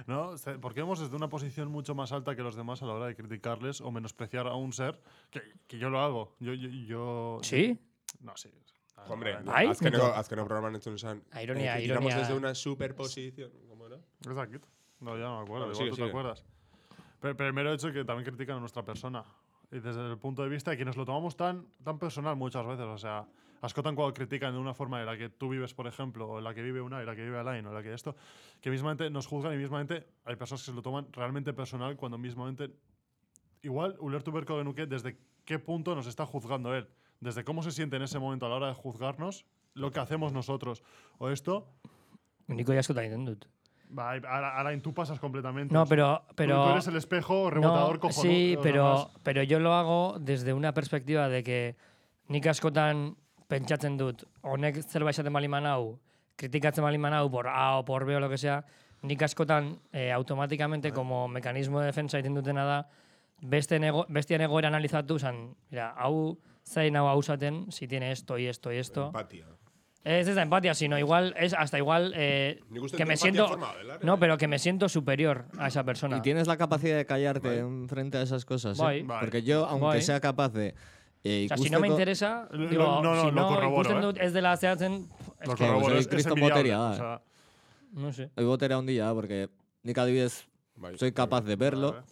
Speaker 2: ¿No? se- Porque vemos desde una posición mucho más alta que los demás a la hora de criticarles o menospreciar a un ser, que, que yo lo hago. Yo, yo, yo-
Speaker 3: Sí?
Speaker 2: No, sí. Ah,
Speaker 4: Hombre,
Speaker 2: vale.
Speaker 3: Bai,
Speaker 4: azkeneko,
Speaker 3: Nico.
Speaker 4: azkeneko programan entzun esan.
Speaker 3: Ah, ironia,
Speaker 4: criticamos
Speaker 3: ironia.
Speaker 4: desde una superposición. ¿Cómo era?
Speaker 2: Es de aquí. No, ya no me acuerdo. igual
Speaker 4: Vale, sigue,
Speaker 2: tú
Speaker 4: sigue.
Speaker 2: te acuerdas. Pero, pero el mero hecho que también critican a nuestra persona. Y desde el punto de vista de quienes lo tomamos tan, tan personal muchas veces. O sea, ascotan cuando critican de una forma en la que tú vives, por ejemplo, o en la que vive una, en la que vive Alain, o en la que esto. Que mismamente nos juzgan y mismamente hay personas que se lo toman realmente personal cuando mismamente. Igual, Ulertu Berkogenuke, desde qué punto nos está juzgando él. Desde cómo se siente en ese momento a la hora de juzgarnos lo que hacemos nosotros. O esto.
Speaker 3: Niko jaskotan egiten dut.
Speaker 2: va, Ala- Alain, tú pasas completamente.
Speaker 3: No,
Speaker 2: o sea,
Speaker 3: pero... pero...
Speaker 2: Tú, tú eres el espejo rebotador
Speaker 3: No,
Speaker 2: cojonudo.
Speaker 3: Sí,
Speaker 2: o sea,
Speaker 3: pero,
Speaker 2: más-
Speaker 3: pero yo lo hago desde una perspectiva de que nik askotan pentsatzen dut, honek zerbait esaten bali manau, kritikatzen bali manau, por A o por B o lo que sea, nik askotan eh, automáticamente como mekanismo de defensa egiten dutena da, beste nego, bestian egoera analizatu, zan, mira, hau zain hau hausaten, si tiene esto y esto y esto.
Speaker 4: Empatía.
Speaker 3: Es esta empatía, sino igual, es hasta igual eh,
Speaker 4: Nik uste
Speaker 3: que
Speaker 4: dut
Speaker 3: me
Speaker 4: empatia
Speaker 3: siento...
Speaker 4: forma bat dela,
Speaker 3: No,
Speaker 4: eh?
Speaker 3: pero que me siento superior a esa persona.
Speaker 5: Y tienes la capacidad de callarte en frente a esas cosas. ¿eh?
Speaker 3: Bai.
Speaker 2: Bai.
Speaker 5: Porque yo, aunque
Speaker 3: Bai.
Speaker 5: sea capaz de. eh,
Speaker 3: O sea, si no me
Speaker 5: ikusteko-
Speaker 3: interesa,
Speaker 2: Lo-
Speaker 3: digo,
Speaker 2: no, no,
Speaker 3: si
Speaker 2: lo
Speaker 3: no,
Speaker 2: corroboro,
Speaker 3: ikusten
Speaker 2: eh.
Speaker 3: dut ez dela zehatzen, pf,
Speaker 2: Lo
Speaker 5: que
Speaker 2: corroboro,
Speaker 5: soy
Speaker 2: es- es
Speaker 5: Cristo
Speaker 2: envidiable,
Speaker 5: Boteria,
Speaker 2: o
Speaker 5: eh.
Speaker 2: sea,
Speaker 3: no sé.
Speaker 5: Hoy voy a tener un día porque. Ni cada vez
Speaker 4: Bai.
Speaker 5: soy capaz de verlo.
Speaker 2: Vale.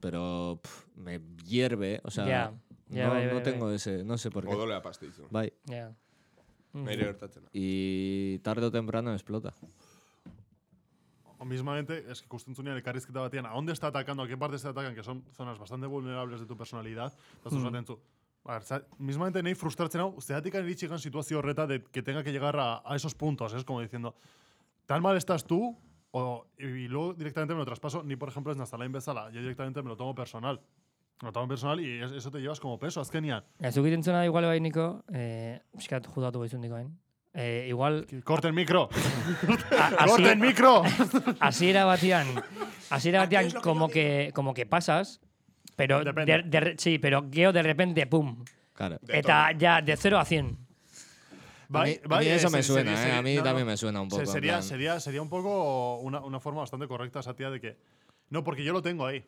Speaker 5: pero pf, me hierve, o sea,
Speaker 3: Ya, ya,
Speaker 5: no,
Speaker 3: bai,
Speaker 5: no
Speaker 3: bai,
Speaker 5: tengo ese, no sé por qué.
Speaker 4: Odolea pasteizu.
Speaker 5: Bai.
Speaker 3: Ja.
Speaker 2: Mm.
Speaker 4: Nire gertatzen da.
Speaker 5: Y tarde o temprano explota.
Speaker 2: O mismamente, es que justo en elkarrizketa batean, ¿a dónde está atacando? ¿A qué partes te atacan? Que son zonas bastante vulnerables de tu personalidad. Eta zuz baten zu, a ver, za- mismamente nahi frustratzen hau, zeatik iritsi gan situazio horreta de que tenga que llegar a, a esos puntos, ¿eh? es como diciendo, tan mal estás tú, o, y, y luego directamente me lo traspaso, ni por ejemplo es Nazalain bezala, yo directamente me lo tomo personal. Me lo tomo personal y es- eso te llevas como peso, azkenian.
Speaker 3: Ez dukit entzuna igual bai niko, eh, pixkat judatu goizun niko hain. Eh, igual,
Speaker 2: ¡Corten micro!
Speaker 3: así-
Speaker 2: ¡Corten micro!
Speaker 3: Asiera batean, asiera batean como que, como que pasas, pero
Speaker 2: Depende.
Speaker 3: de, de- sí, pero geo de repente, pum.
Speaker 5: Claro.
Speaker 4: De
Speaker 3: Eta ya de 0 a 100.
Speaker 5: A mí- a mí
Speaker 2: eh,
Speaker 5: eso me
Speaker 2: seri-
Speaker 5: suena,
Speaker 2: seri-
Speaker 5: eh, a
Speaker 2: seri-
Speaker 5: mí también me suena un
Speaker 2: Se-
Speaker 5: poco, en
Speaker 2: Sería,
Speaker 5: plan-
Speaker 2: sería, sería un poco una, una forma bastante correcta esa tía de que. No, porque yo lo tengo ahí.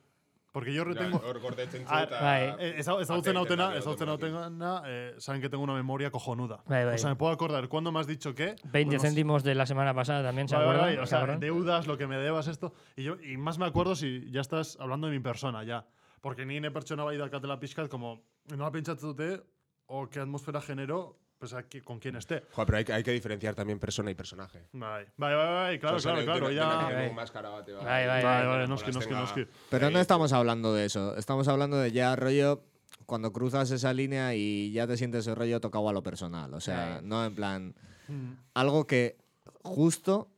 Speaker 2: Porque yo
Speaker 4: Ja,
Speaker 2: retengo.
Speaker 4: Hor gordetzen zu
Speaker 2: Ah,
Speaker 4: eta...
Speaker 3: bai.
Speaker 2: Eh, eza- Ezagutzen
Speaker 4: Atenten
Speaker 2: nautena,
Speaker 4: ari
Speaker 2: ezagutzen
Speaker 4: automatikoki.
Speaker 2: nautena, eh, saben que tengo una memoria cojonuda.
Speaker 3: Bai, bai.
Speaker 2: O sea, me puedo acordar cuándo me has dicho qué.
Speaker 3: 20
Speaker 2: unos-
Speaker 3: céntimos de la semana pasada también, ¿se
Speaker 2: Bai, bai,
Speaker 3: acuerdan?
Speaker 2: bai, o sea,
Speaker 3: Cabrón.
Speaker 2: deudas, lo que me debas, esto. Y, yo, y más me acuerdo si ya estás hablando de mi persona, ya. Porque ni ne pertsona bai daukatela pixkat, como nola pentsatzen dute, o qué atmósfera generó, pues aquí, con quién esté.
Speaker 4: Joder, pero hay, que- hay que diferenciar también persona y personaje.
Speaker 2: Bai, bai, bai, bai, claro,
Speaker 4: Oso,
Speaker 2: claro,
Speaker 4: nik
Speaker 2: claro,
Speaker 4: denak-
Speaker 2: ya...
Speaker 4: denak
Speaker 3: Bai,
Speaker 4: dugu
Speaker 3: bai.
Speaker 4: maskara bate, bai.
Speaker 3: Bai, bai,
Speaker 2: Bai, bai,
Speaker 4: Denak
Speaker 2: noski, noski,
Speaker 4: jolasten
Speaker 2: noski.
Speaker 4: gara.
Speaker 5: Pero no
Speaker 4: Ey,
Speaker 5: estamos hablando de eso. Estamos hablando de ya rollo cuando cruzas esa línea y ya te sientes el rollo tocado a lo personal. O sea, no en plan.
Speaker 3: Mm.
Speaker 5: Algo que justo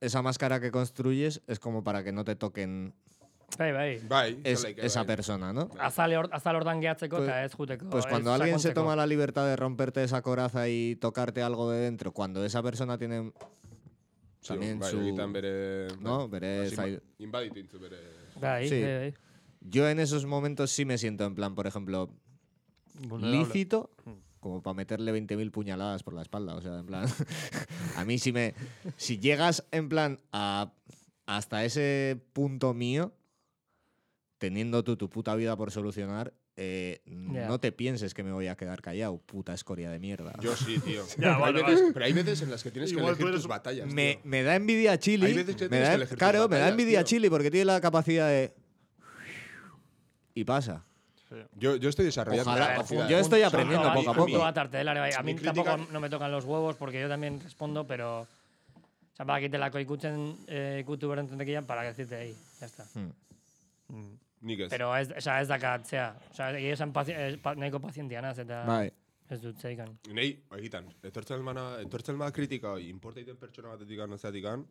Speaker 5: esa máscara que construyes es como para que no te toquen
Speaker 3: Bai, bai.
Speaker 4: Bai,
Speaker 5: es-
Speaker 4: zelaik,
Speaker 5: esa
Speaker 4: bai.
Speaker 5: persona, ¿no?
Speaker 3: Azal, hor- azal ordan gehatzeko
Speaker 5: Pues-
Speaker 3: eta ez juteko.
Speaker 5: Pues
Speaker 3: ez
Speaker 5: cuando alguien se
Speaker 3: sakontzeko.
Speaker 5: toma la libertad de romperte esa coraza y tocarte algo de dentro, cuando esa persona tiene
Speaker 4: Sí,
Speaker 5: también
Speaker 4: bai, egiten
Speaker 5: su...
Speaker 4: bere...
Speaker 5: No, Eh, bere
Speaker 4: Hasi
Speaker 5: zai-
Speaker 4: inba- Inbaditu intzu bere...
Speaker 3: Bai,
Speaker 5: Sí.
Speaker 3: bai, bai.
Speaker 5: Yo en esos momentos sí me siento en plan, por ejemplo,
Speaker 2: Vulnerable.
Speaker 5: lícito como para meterle 20.000 puñaladas por la espalda. O sea, en plan, <laughs> a mí si me... Si llegas en plan a, hasta ese punto mío, teniendo tú tu puta vida por solucionar, eh,
Speaker 3: Ya.
Speaker 5: no te pienses que me voy a quedar callado, puta escoria de mierda.
Speaker 4: Yo sí, <laughs> tío.
Speaker 2: Ya,
Speaker 4: pero,
Speaker 2: vale,
Speaker 4: hay veces, pero hay veces en las que tienes que
Speaker 2: Igual tú
Speaker 4: elegir
Speaker 2: eres
Speaker 4: tus
Speaker 2: un-
Speaker 4: batallas.
Speaker 5: me,
Speaker 4: tío.
Speaker 5: me da envidia Chile.
Speaker 4: Hay veces que
Speaker 5: me
Speaker 4: tienes
Speaker 5: da-
Speaker 4: que elegir tus
Speaker 5: claro, me da
Speaker 4: batallas,
Speaker 5: envidia
Speaker 4: tío.
Speaker 5: Chile porque tiene la capacidad de. Y pasa.
Speaker 4: Yo, yo estoy desarrollando
Speaker 5: Ojalá-
Speaker 4: la capacidad.
Speaker 5: yo estoy aprendiendo
Speaker 3: Punto bat-
Speaker 5: poco a
Speaker 3: punto
Speaker 5: poco.
Speaker 3: bat artelare, bai. A mí
Speaker 4: Mi
Speaker 3: tampoco
Speaker 4: crítica-
Speaker 3: no me tocan los huevos porque yo también respondo, pero... O sea, para que te la coicuchen, eh, ikutu beren tentekian, para que decirte ahí. Ya está.
Speaker 4: Nik ez.
Speaker 3: Pero ez, oza, ez dakat, zea. Oza, egia esan pazi, eh, pa, nahiko pazientia naz, eta
Speaker 5: Bai.
Speaker 3: ez dut zeikan.
Speaker 4: Nei, egitan, etortzen bana, etortzen bada kritika hori, importeiten pertsona batetik an, ozeatik an,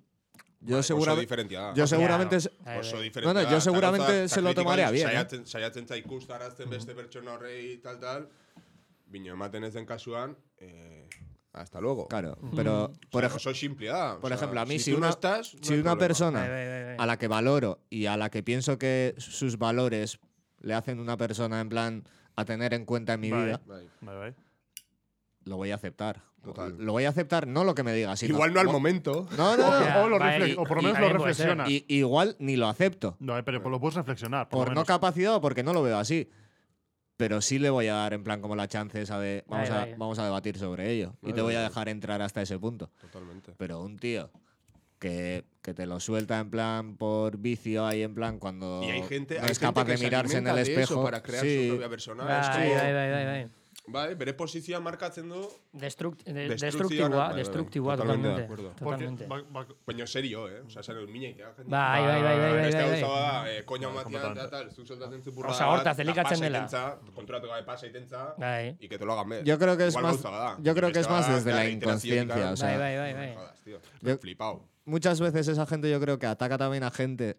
Speaker 5: Yo
Speaker 4: Bai, oso
Speaker 5: seguramente.
Speaker 4: diferentia da.
Speaker 5: Yo seguramente.
Speaker 3: Ya.
Speaker 5: es-
Speaker 3: Bai,
Speaker 4: oso
Speaker 3: bai.
Speaker 4: diferentia
Speaker 5: No, no,
Speaker 4: da.
Speaker 5: yo
Speaker 4: Eta
Speaker 5: seguramente
Speaker 4: gauza-
Speaker 5: se lo
Speaker 4: eta
Speaker 5: tomaré a bien,
Speaker 4: kritikoan
Speaker 5: eh.
Speaker 4: Saiatzen, saiatzen za ikustarazten beste pertsona horrei tal, tal, bino ematen ez den kasuan, eh, hasta luego.
Speaker 5: Claro, pero. Por, ej-
Speaker 4: Oso simplea da.
Speaker 5: por
Speaker 4: osea,
Speaker 5: ejemplo, a mí, si,
Speaker 4: tú
Speaker 5: una,
Speaker 4: no estás, no
Speaker 5: si
Speaker 4: hay
Speaker 5: una
Speaker 4: problema.
Speaker 5: persona
Speaker 3: Bai, bai, bai, bai.
Speaker 5: a la que valoro y a la que pienso que sus valores le hacen una persona en plan a tener en cuenta en mi
Speaker 2: Vale.
Speaker 5: vida,
Speaker 4: Bai.
Speaker 2: Bai, bai.
Speaker 5: lo voy a aceptar.
Speaker 4: Total.
Speaker 5: Lo voy a aceptar, no lo que me digas, sino.
Speaker 4: Igual no al
Speaker 5: "Buah".
Speaker 4: momento.
Speaker 5: No, no, no.
Speaker 2: O, lo
Speaker 3: bai,
Speaker 2: reflex- o por lo menos lo
Speaker 3: también puede ser.
Speaker 2: reflexiona.
Speaker 5: Y- igual ni lo acepto.
Speaker 2: No, eh, pero pues lo puedes reflexionar. Por,
Speaker 5: por
Speaker 2: lo
Speaker 5: no
Speaker 2: menos.
Speaker 5: capacidad o porque no lo veo así. Pero sí le voy a dar en plan como la chance esa de vamos,
Speaker 3: Ahí,
Speaker 5: a,
Speaker 3: ahí.
Speaker 5: vamos a debatir sobre ello. y
Speaker 4: Ahí,
Speaker 5: te voy a
Speaker 4: ahí.
Speaker 5: dejar entrar hasta ese punto.
Speaker 4: Totalmente.
Speaker 5: Pero un tío que, que te lo suelta en plan por vicio ahí en plan cuando
Speaker 4: Y hay gente,
Speaker 5: no
Speaker 4: hay
Speaker 5: es
Speaker 4: gente
Speaker 5: capaz
Speaker 4: que
Speaker 5: de
Speaker 4: se
Speaker 5: mirarse en el
Speaker 4: alimenta de eso
Speaker 5: espejo.
Speaker 4: para crear
Speaker 5: Sí,
Speaker 4: su propia persona.
Speaker 3: Bai,
Speaker 4: Es
Speaker 3: bai,
Speaker 4: como-
Speaker 3: bai, bai, bai.
Speaker 4: Bai, bere posizioa markatzen du,
Speaker 3: Destruct, de,
Speaker 4: Destructiva,
Speaker 3: destructiboa,
Speaker 4: bai, bai, bai.
Speaker 3: destructiboa
Speaker 4: Totalmente de
Speaker 3: totalmente.
Speaker 4: acuerdo.
Speaker 2: Porque
Speaker 3: Totalmente.
Speaker 2: va- va-
Speaker 4: baina serio, eh? Osa, zen mina itea. jende.
Speaker 3: Bai, bai, bai, bai, bai,
Speaker 4: Beste
Speaker 3: bai,
Speaker 4: gauza
Speaker 3: bai.
Speaker 4: bada, eh, koña batean,
Speaker 2: completamente.
Speaker 4: eta tal, zuk soltatzen zu burra
Speaker 3: Osea,
Speaker 4: bat,
Speaker 3: hortaz,
Speaker 4: eta
Speaker 3: elikatzen
Speaker 4: pasa
Speaker 3: dela.
Speaker 4: itentza, konturatu gabe pasa itentza,
Speaker 3: Bai.
Speaker 4: y que te lo hagan ver.
Speaker 5: Yo creo que es
Speaker 4: Igual
Speaker 5: más-
Speaker 4: gauza bada.
Speaker 5: yo creo que es
Speaker 4: Beste
Speaker 5: más
Speaker 4: bada,
Speaker 5: desde la
Speaker 4: da, iterazioi
Speaker 5: inconsciencia,
Speaker 4: kan.
Speaker 5: o sea-
Speaker 3: Bai, bai, bai, bai.
Speaker 4: No jodas, tío.
Speaker 5: Yo-
Speaker 4: Flipao.
Speaker 5: muchas veces esa gente yo creo que ataca también a gente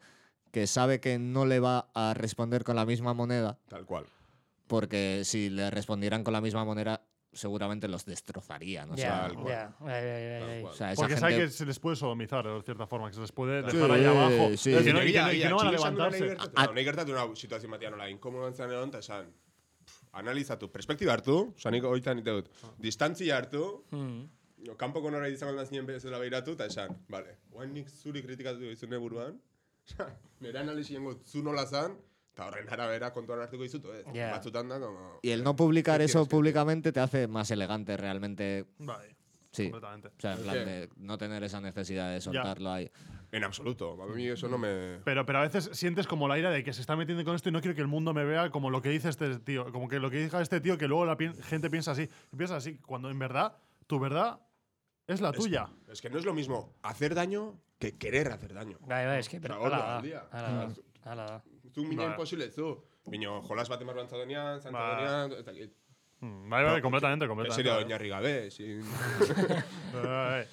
Speaker 5: que sabe que no le va a responder con la misma moneda.
Speaker 4: Tal cual.
Speaker 5: Porque si le respondieran con la misma moneda, seguramente los destrozarían. O sea,
Speaker 3: Ya,
Speaker 4: tal cual.
Speaker 3: ya, bai, bai, bai,
Speaker 4: Tal
Speaker 3: bai.
Speaker 4: cual.
Speaker 5: o sea, esa
Speaker 2: Porque sabe
Speaker 5: gente-
Speaker 2: que se les puede sodomizar de cierta forma, que se les puede
Speaker 5: Sí,
Speaker 2: dejar ahí abajo.
Speaker 5: sí.
Speaker 2: Es que no, y que
Speaker 4: Egia,
Speaker 2: no- y que
Speaker 4: egia,
Speaker 2: no van a
Speaker 4: txiki esan duena
Speaker 2: levantarse. Ah,
Speaker 5: Ah,
Speaker 4: nahi gertatu- nahi gertatu nau situazio batean nola inkomodan zan egon, eta esan, pff, analizatu, perspektiba hartu, osa nik oita nite dut,
Speaker 2: Ah.
Speaker 4: distantzia hartu,
Speaker 2: Hmm.
Speaker 4: no, kanpoko nora izango da zinen bezala behiratu, eta esan, vale, guain nik zuri kritikatu izune buruan, <laughs> nire analizien zu nola zan, eta horren arabera kontuan hartuko izutu, ez.
Speaker 3: Ja.
Speaker 4: Batzutan da, como...
Speaker 5: Y el no publicar
Speaker 4: ¿Qué
Speaker 5: eso
Speaker 4: quieres que te
Speaker 5: públicamente te hace más elegante realmente
Speaker 2: Bai.
Speaker 5: Sí.
Speaker 2: completamente.
Speaker 5: O sea, en plan
Speaker 4: Sí.
Speaker 5: de no tener esa necesidad de soltarlo ahí.
Speaker 4: En absoluto. A mí eso no me.
Speaker 2: Pero, pero a veces sientes como la ira de que se está metiendo con esto y no quiero que el mundo me vea como lo que dice este tío. Como que lo que diga este tío, que luego la pien- gente piensa así. Y piensa así, cuando en verdad, tu verdad es la tuya.
Speaker 4: Es que no es lo mismo hacer daño que querer hacer daño.
Speaker 3: Bai, bai, eski, pero
Speaker 4: Ba, hor
Speaker 3: hala
Speaker 4: da,
Speaker 3: da.
Speaker 4: handia.
Speaker 3: Hala da. Hala da.
Speaker 4: Zu mina
Speaker 2: Ba.
Speaker 4: imposible, zu. Bino, jolas bat emar bantza denean, zanta
Speaker 2: Ba.
Speaker 4: denean, eta git.
Speaker 2: Mm, Vale, vale, completamente,
Speaker 4: En
Speaker 2: completamente.
Speaker 4: serio, oinarri gabe, sin...
Speaker 2: Vale, vale.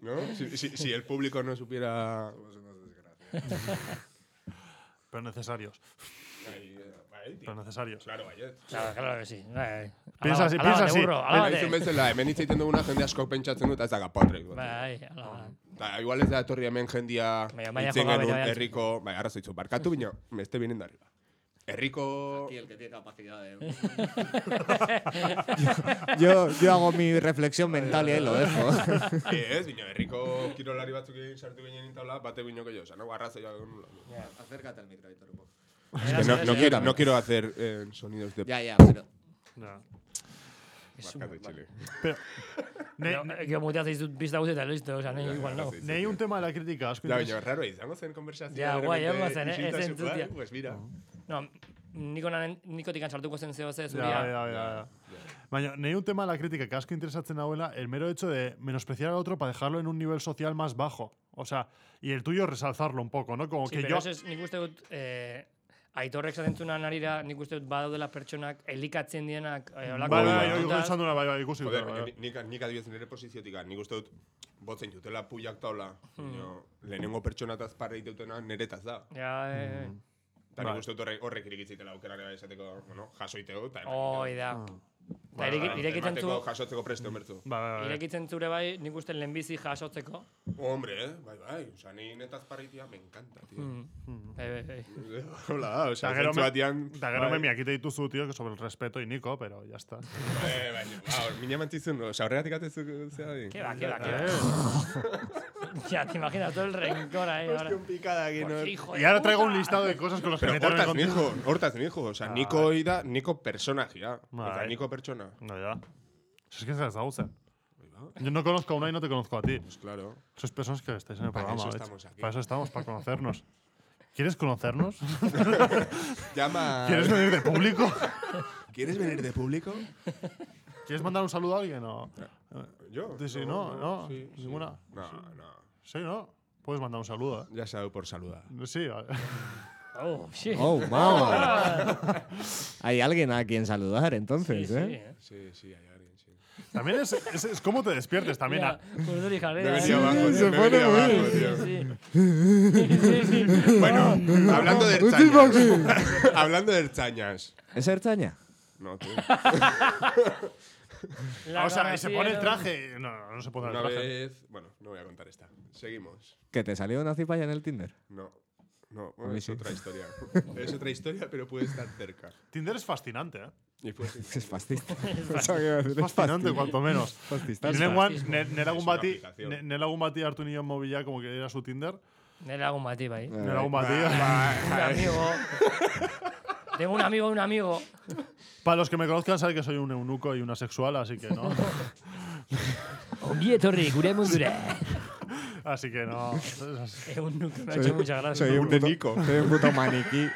Speaker 4: ¿no? Si, si, si el público no supiera...
Speaker 2: Pero necesarios.
Speaker 4: Ahí, eh, bai, tío.
Speaker 2: Pero necesarios.
Speaker 4: Claro, baiet.
Speaker 3: Claro, claro que sí. Bai, bai.
Speaker 2: Piensa así,
Speaker 3: Alaba-
Speaker 2: piensa
Speaker 3: alabate,
Speaker 2: así.
Speaker 3: burro,
Speaker 4: Bueno,
Speaker 3: alabate.
Speaker 4: izun bezala, hemen hitz egiten duguna jende asko pentsatzen dut, ez da gapotrek.
Speaker 3: Bai, alaba.
Speaker 4: Ta, igual ez da etorri hemen jendia
Speaker 3: Baina, baina
Speaker 4: hitzen
Speaker 3: joka
Speaker 4: genuen
Speaker 3: bera-
Speaker 4: herriko... Bai, arrazoitzu, barkatu bino, beste bienen da arriba. Herriko...
Speaker 5: el que tiene capacidad de. <laughs> yo, yo hago mi reflexión mental y ahí lo dejo. <laughs>
Speaker 4: Eh, Ez, bino, herriko kirolari batzuk egin sartu ginen intaula, bate bino gehiago, esan, hau arrazoia genula.
Speaker 5: Acércate al micro, Aitor, un poco.
Speaker 4: Es que no, no, quiero, no quiero hacer eh, sonidos de...
Speaker 5: Ya, ya,
Speaker 2: Ya.
Speaker 5: pero.
Speaker 4: barkatu, Txile.
Speaker 2: Ne-
Speaker 3: No, Gero mutea zaizut bizta guzti eta listo, oza, nahi <laughs> igual
Speaker 4: <laughs>
Speaker 3: no.
Speaker 4: Arrazoitzu.
Speaker 2: Leí un tema de la crítica. asko
Speaker 4: Ja,
Speaker 3: <laughs>
Speaker 2: interes-
Speaker 4: baina raro izango zen konversazioa.
Speaker 3: Ja,
Speaker 4: de
Speaker 3: guai,
Speaker 4: repente,
Speaker 3: egon zen, eh,
Speaker 4: isiltasun
Speaker 3: ez entzutia.
Speaker 4: bat, Pues mira.
Speaker 3: No, niko nanen, nikotik sartuko zen zeo ze,
Speaker 2: Ya, ya,
Speaker 3: zuria.
Speaker 2: ya, ya. Baina, nahi un tema de la crítica que asko interesatzen nahuela, el mero hecho de menospreciar al otro para dejarlo en un nivel social más bajo. O sea, y el tuyo resalzarlo un poco, ¿no? Como
Speaker 3: Sí,
Speaker 2: que
Speaker 3: pero
Speaker 2: yo...
Speaker 3: ez, ez, nik uste dut, eh, aitorrek zentzunan arira, nik uste dut badaudela pertsonak elikatzen dienak, eh, olako
Speaker 2: Bai, bai,
Speaker 4: Bai,
Speaker 2: hori
Speaker 3: kontutaz.
Speaker 2: esan duena, bai, bai, ikusi.
Speaker 4: Joder,
Speaker 2: dut,
Speaker 4: baina
Speaker 2: bai.
Speaker 4: ni- nik, nik adibidez nire posiziotik, nik uste dut, botzen jutela puiak taula, baina lehenengo pertsonataz parre iteutena niretaz da.
Speaker 3: Ja, eh,
Speaker 4: Eta nik
Speaker 2: Bai.
Speaker 4: uste dut horrek, horrek irikitzitela aukera ere esateko, bueno, jasoiteu, eta
Speaker 3: hoi da. Eta ireki- Mm. irekitzen zu,
Speaker 4: Ba, Emateko jasotzeko presto mertu.
Speaker 2: Bai, bai, bai.
Speaker 3: irekitzen zure bai, nik uste lehenbizi jasotzeko.
Speaker 4: Hombre, eh? bai, bai, oza, ni netaz parre itea, me encanta, tío.
Speaker 3: Bai, bai, bai.
Speaker 4: <laughs> Hola, da, oza,
Speaker 2: Eta gero
Speaker 4: zentzu
Speaker 2: me-
Speaker 4: batian...
Speaker 2: Eta gero
Speaker 4: bai.
Speaker 2: memia kite dituzu, tío, que sobre el respeto y Nico, pero ya está.
Speaker 4: Eh, baina, hau, mina mantizun, oza, horregatik eh, atezu, zera di.
Speaker 3: Ke ba, ke ba, ke ba. <laughs> Ya, te imaginas todo el rencor ahí ahora.
Speaker 4: Hostia, un eh. picada aquí,
Speaker 2: Pues
Speaker 3: Por
Speaker 4: no.
Speaker 3: hijo de
Speaker 2: Y ahora traigo un
Speaker 3: puta.
Speaker 2: listado de cosas con las que
Speaker 4: Pero
Speaker 2: me tengo que
Speaker 4: hortaz
Speaker 2: contigo.
Speaker 4: nijo, hortaz nijo. O
Speaker 2: Ah,
Speaker 4: sea, niko hori da, niko personajia.
Speaker 2: Bai.
Speaker 4: Eta niko pertsona.
Speaker 2: No, ya. Si es que se las usan. Yo no conozco a una y no te conozco a ti.
Speaker 4: Pues claro.
Speaker 2: Sois personas que estáis en el
Speaker 4: Para
Speaker 2: programa.
Speaker 4: eso
Speaker 2: de hecho.
Speaker 4: estamos aquí.
Speaker 2: Para eso estamos, para conocernos. ¿Quieres conocernos?
Speaker 4: Llama.
Speaker 2: ¿Quieres venir de público?
Speaker 4: ¿Quieres venir de público?
Speaker 2: ¿Quieres mandar un saludo a alguien? O...
Speaker 4: Yo.
Speaker 2: Sí, sí, no, no. Ninguna.
Speaker 4: No, no.
Speaker 2: Sí, ¿no? Puedes mandar un saludo, ¿eh?
Speaker 4: Ya sabe por saludar.
Speaker 2: Sí, vale.
Speaker 3: Oh, sí.
Speaker 5: ¡Oh, <laughs> vamos! Hay alguien a quien saludar, entonces,
Speaker 3: Sí,
Speaker 5: ¿eh?
Speaker 3: sí, eh.
Speaker 4: Sí, sí, hay alguien, sí.
Speaker 2: También es, es, es cómo te despiertes. También
Speaker 3: Mira,
Speaker 2: a-
Speaker 3: urduri
Speaker 4: Me
Speaker 3: jarrera,
Speaker 4: venía
Speaker 3: eh.
Speaker 4: abajo, tío. Me venía abajo, tío.
Speaker 3: Sí, sí. Sí, sí.
Speaker 4: Bueno, hablando de ertzañas. <laughs> hablando de ertzañas.
Speaker 5: ¿Es Ertaña?
Speaker 4: No, tú.
Speaker 3: La
Speaker 2: o sea, y se
Speaker 3: ganancia,
Speaker 2: pone el
Speaker 3: ¿no?
Speaker 2: traje. No, no, no se pone el
Speaker 4: Una
Speaker 2: traje.
Speaker 4: vez. Bueno, no voy a contar esta. Seguimos.
Speaker 5: ¿Que te salió una cipaya en el Tinder? <laughs>
Speaker 4: No. No,
Speaker 5: A mí
Speaker 4: es
Speaker 5: sí.
Speaker 4: otra <laughs> historia. es otra historia, pero puede estar cerca.
Speaker 2: Tinder es fascinante, ¿eh?
Speaker 4: Y puede ser-
Speaker 5: Es
Speaker 3: <laughs>
Speaker 5: fascista. <laughs> Pensaba que iba a decir, es
Speaker 2: Fascinante, cuanto menos.
Speaker 5: fascista.
Speaker 2: Nirenguan,
Speaker 3: fascismo.
Speaker 2: ne- nelagun
Speaker 4: Es una
Speaker 2: bati,
Speaker 4: aplicación.
Speaker 2: ne- nelagun bati hartu nion mobila, como que era su Tinder.
Speaker 3: Nere lagun bati, bai.
Speaker 4: Eh,
Speaker 2: Nelagun bati.
Speaker 3: Un amigo. Tengo un amigo, un amigo.
Speaker 2: Para los que me conozcan, saben que soy un eunuco y una sexual, así que no.
Speaker 3: Ongi etorri, gure mundura. <laughs>
Speaker 2: así que no. Es-
Speaker 3: Eh, un nuke, me ha hecho mucha gracia.
Speaker 5: Soy un,
Speaker 4: Ah, Un de
Speaker 5: puto,
Speaker 3: <laughs>
Speaker 4: Nico.
Speaker 5: soy un puto maniquí.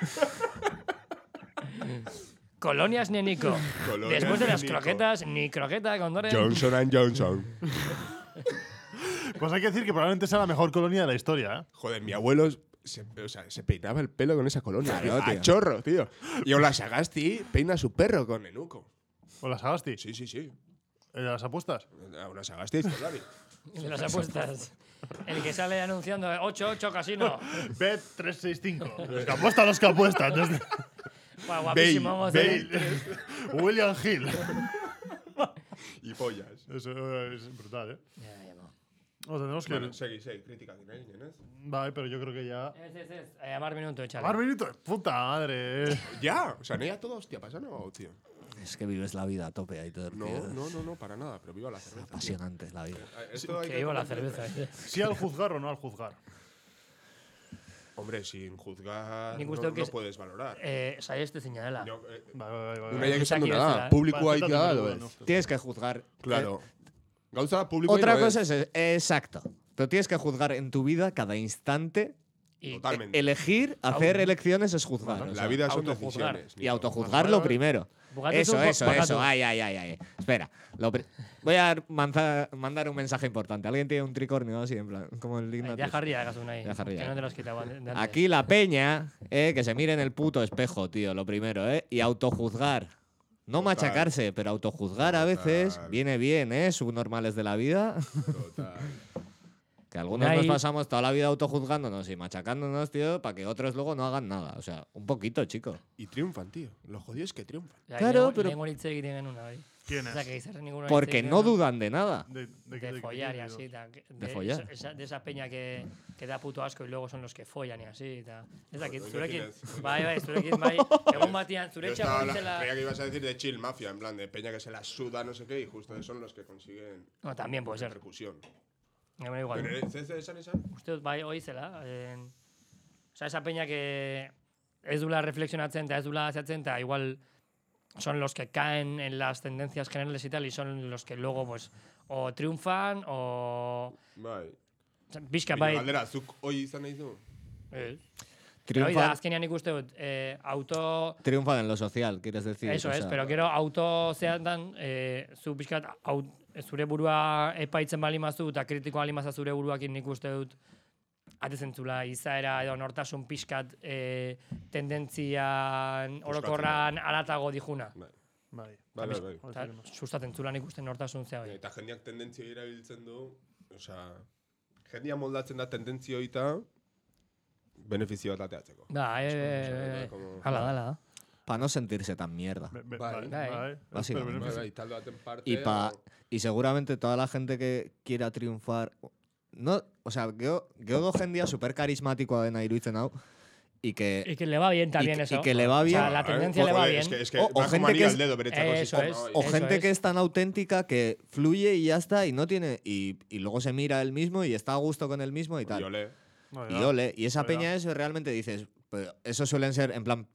Speaker 3: Colonias Nenico.
Speaker 4: Colonias
Speaker 3: Después de las
Speaker 4: Nenico.
Speaker 3: croquetas, ni croqueta con Doren.
Speaker 4: Johnson and Johnson.
Speaker 2: Pues hay que decir que probablemente sea la mejor colonia de la historia, ¿eh?
Speaker 4: Joder, mi abuelo se, o sea, se peinaba el pelo con esa colonia.
Speaker 5: Claro,
Speaker 4: tío.
Speaker 5: tío.
Speaker 4: A chorro, tío. Y Ola Sagasti peina a su perro con enuco.
Speaker 2: ¿O las Agasti?
Speaker 4: Sí, sí, sí.
Speaker 2: Eh, ¿Las apuestas?
Speaker 4: A Ola Sagasti y Ferrari.
Speaker 3: De las apuestas. El que sale anunciando 8-8 casino.
Speaker 2: Bet365. Los que apuestan, los que apuestan. Desde-
Speaker 3: Guau, guapísimo. vamos a
Speaker 2: Bale.
Speaker 3: ver.
Speaker 2: William Hill.
Speaker 4: <laughs> Y pollas.
Speaker 2: Eso es brutal, ¿eh?
Speaker 3: Ya, ya, no.
Speaker 2: O sea, tenemos que.
Speaker 4: Bueno, seguí, seguí. Crítica, ¿quién es? ¿Quién es?
Speaker 2: Vale, pero yo creo que ya.
Speaker 3: Ez, ez, ez. Eh, Amar minuto, etxale.
Speaker 2: Mar minuto de puta madre. eh.
Speaker 4: Ya, o sea, no ya todo, hostia, pasa no, tío.
Speaker 5: <laughs> Es que vives la vida a tope, Aitor.
Speaker 4: No,
Speaker 5: tío.
Speaker 4: no, no, no, para nada, pero viva la cerveza.
Speaker 5: Apasionante la vida.
Speaker 4: Ah, Esto hay
Speaker 3: Que vivo la
Speaker 4: tomar-
Speaker 3: cerveza. eh.
Speaker 2: Sí al juzgar o no al juzgar.
Speaker 4: Hombre, sin juzgar,
Speaker 3: Nik
Speaker 4: no,
Speaker 3: uste dut que
Speaker 4: no
Speaker 3: es-
Speaker 4: puedes valorar.
Speaker 3: Eh, saieste zina dela.
Speaker 4: No, eh,
Speaker 2: Vale, vale, vale.
Speaker 4: una ya que
Speaker 3: Gizaki
Speaker 4: esan
Speaker 3: bezala.
Speaker 4: duna da, publikoa
Speaker 2: Ba, ez dut
Speaker 4: itea da,
Speaker 2: atuko
Speaker 4: edo
Speaker 2: duen
Speaker 4: ez?
Speaker 2: uste.
Speaker 5: Tienes que juzgar.
Speaker 4: Claro. Gauza publikoa
Speaker 5: eh, Otra cosa es, exacto. Pero tienes que juzgar en tu vida cada instante. E-,
Speaker 3: Y
Speaker 4: Totalmente.
Speaker 5: Elegir, hacer elecciones es juzgar. o sea.
Speaker 4: La vida son
Speaker 3: autojuzgar.
Speaker 4: decisiones.
Speaker 5: y autojuzgarlo primero.
Speaker 3: Bogatu
Speaker 5: Eso,
Speaker 3: zu,
Speaker 5: eso,
Speaker 3: bogatu.
Speaker 5: eso. Ay, ay, ay, ay. Espera. Lo pri- Voy a manza- mandar un mensaje importante. ¿Alguien tiene un tricornio así? En plan, como el Ignatus?
Speaker 3: Ya jarría, gasun ahí.
Speaker 5: Ya jarria.
Speaker 3: Que no te los quitaba de- de antes.
Speaker 5: Aquí la peña, eh, que se mire en el puto espejo, tío, lo primero, ¿eh? Y autojuzgar. No
Speaker 4: Total.
Speaker 5: machacarse, pero autojuzgar a veces
Speaker 4: Total.
Speaker 5: viene bien, ¿eh? Subnormales de la vida. <laughs>
Speaker 4: Total.
Speaker 5: Que algunos nos
Speaker 3: Unai-
Speaker 5: pasamos toda la vida autojuzgándonos y machacándonos, tío, para que otros luego no hagan nada. O sea, un poquito, chico.
Speaker 4: Y triunfan, tío. Lo jodido es que triunfan.
Speaker 3: Ya,
Speaker 5: Claro,
Speaker 3: lehengo-
Speaker 5: pero-
Speaker 3: lehengo hitz egiten genuen, hori.
Speaker 2: ¿Quién
Speaker 3: O sea,
Speaker 2: es?
Speaker 3: que izarren ninguno hitz
Speaker 5: Porque
Speaker 3: egiten
Speaker 5: no
Speaker 3: genuen.
Speaker 5: dudan de nada.
Speaker 2: De, de-
Speaker 3: De
Speaker 2: de-
Speaker 3: follar y
Speaker 2: de-
Speaker 3: así. ta- que- de,
Speaker 5: follar.
Speaker 3: esa- esa- de esa peña que, que da puto asco y luego son los que follan y así. Ta. Ez dakit,
Speaker 4: Oiga,
Speaker 3: zurekin.
Speaker 4: tienes-
Speaker 3: Bai, bai, zurekin,
Speaker 5: <laughs>
Speaker 3: bai. Egun batean, zure
Speaker 4: Yo
Speaker 3: etxean
Speaker 4: estaba la-
Speaker 3: nintzela-
Speaker 4: creía que ibas a decir de chill mafia, en plan de peña que se la suda, no sé qué, y justo son los que consiguen
Speaker 3: No, también puede ser.
Speaker 4: repercusión.
Speaker 3: Egun igual.
Speaker 4: Pero, eh, ¿Zer zer esan esan?
Speaker 3: Uste dut, bai, hori zela. En... Osa, esa peña que ez dula reflexionatzen eta ez dula azatzen eta igual son los que caen en las tendencias generales y tal y son los que luego pues o triunfan o...
Speaker 4: Bai.
Speaker 3: Bizka,
Speaker 4: Baina
Speaker 3: bai.
Speaker 4: Galdera, zuk hoi izan nahi du?
Speaker 3: Eh, hori da,
Speaker 5: Triunfan,
Speaker 3: azkenean ikuste dut, eh, auto...
Speaker 5: triunfan en lo social, quieres decir.
Speaker 3: Eso
Speaker 5: o
Speaker 3: es,
Speaker 5: sea.
Speaker 3: pero gero auto zeatan, eh, zu pixkat, au, zure burua epaitzen bali mazu eta kritikoa bali maza zure buruakin nik uste dut atezentzula izaera edo nortasun pixkat eh, tendentzian orokorran alatago dihuna.
Speaker 4: Bai.
Speaker 2: Bai.
Speaker 4: Bai, bai, bai.
Speaker 3: Eta sustatzen zula nik uste nortasun zea hori.
Speaker 4: Eta jendeak tendentzio erabiltzen du, osea, jendia moldatzen da tendentzio eta benefizio bat ateatzeko.
Speaker 3: Da, e, e, e, e, hala, da, hala. da.
Speaker 5: Para no sentirse tan mierda.
Speaker 2: Be- be-
Speaker 4: Bai.
Speaker 2: Bai.
Speaker 3: Bai.
Speaker 2: bai.
Speaker 5: Básicamente.
Speaker 2: Pero
Speaker 4: Bai,
Speaker 2: beneficio-
Speaker 4: bai, talde baten parte.
Speaker 5: Y, pa,
Speaker 4: o-
Speaker 5: y seguramente toda la gente que quiera triunfar. No, o sea, yo geodo jendia súper carismático dena iruditzen hau. Y
Speaker 3: Y
Speaker 5: que.
Speaker 3: que le va bien también
Speaker 5: que-
Speaker 3: eso.
Speaker 5: y que le va
Speaker 3: O sea,
Speaker 5: bien.
Speaker 3: la
Speaker 4: Ah,
Speaker 3: tendencia le va
Speaker 4: joder,
Speaker 3: bien.
Speaker 4: Es que, es que
Speaker 5: O- o
Speaker 4: va
Speaker 5: gente
Speaker 4: como
Speaker 5: que
Speaker 4: anillo
Speaker 5: es-
Speaker 4: al dedo beretzako
Speaker 3: Eso
Speaker 4: sistema
Speaker 3: es.
Speaker 4: hori.
Speaker 5: O
Speaker 3: Eso
Speaker 5: gente que
Speaker 3: es.
Speaker 5: es tan auténtica que fluye y ya está. Y no tiene. Y, y luego se mira él mismo y está a gusto con él mismo y tal.
Speaker 4: Y ole.
Speaker 2: Bai,
Speaker 5: Y
Speaker 2: da.
Speaker 5: ole, y esa
Speaker 2: Pues Verdad.
Speaker 5: peña es realmente dices, pero eso suelen ser en plan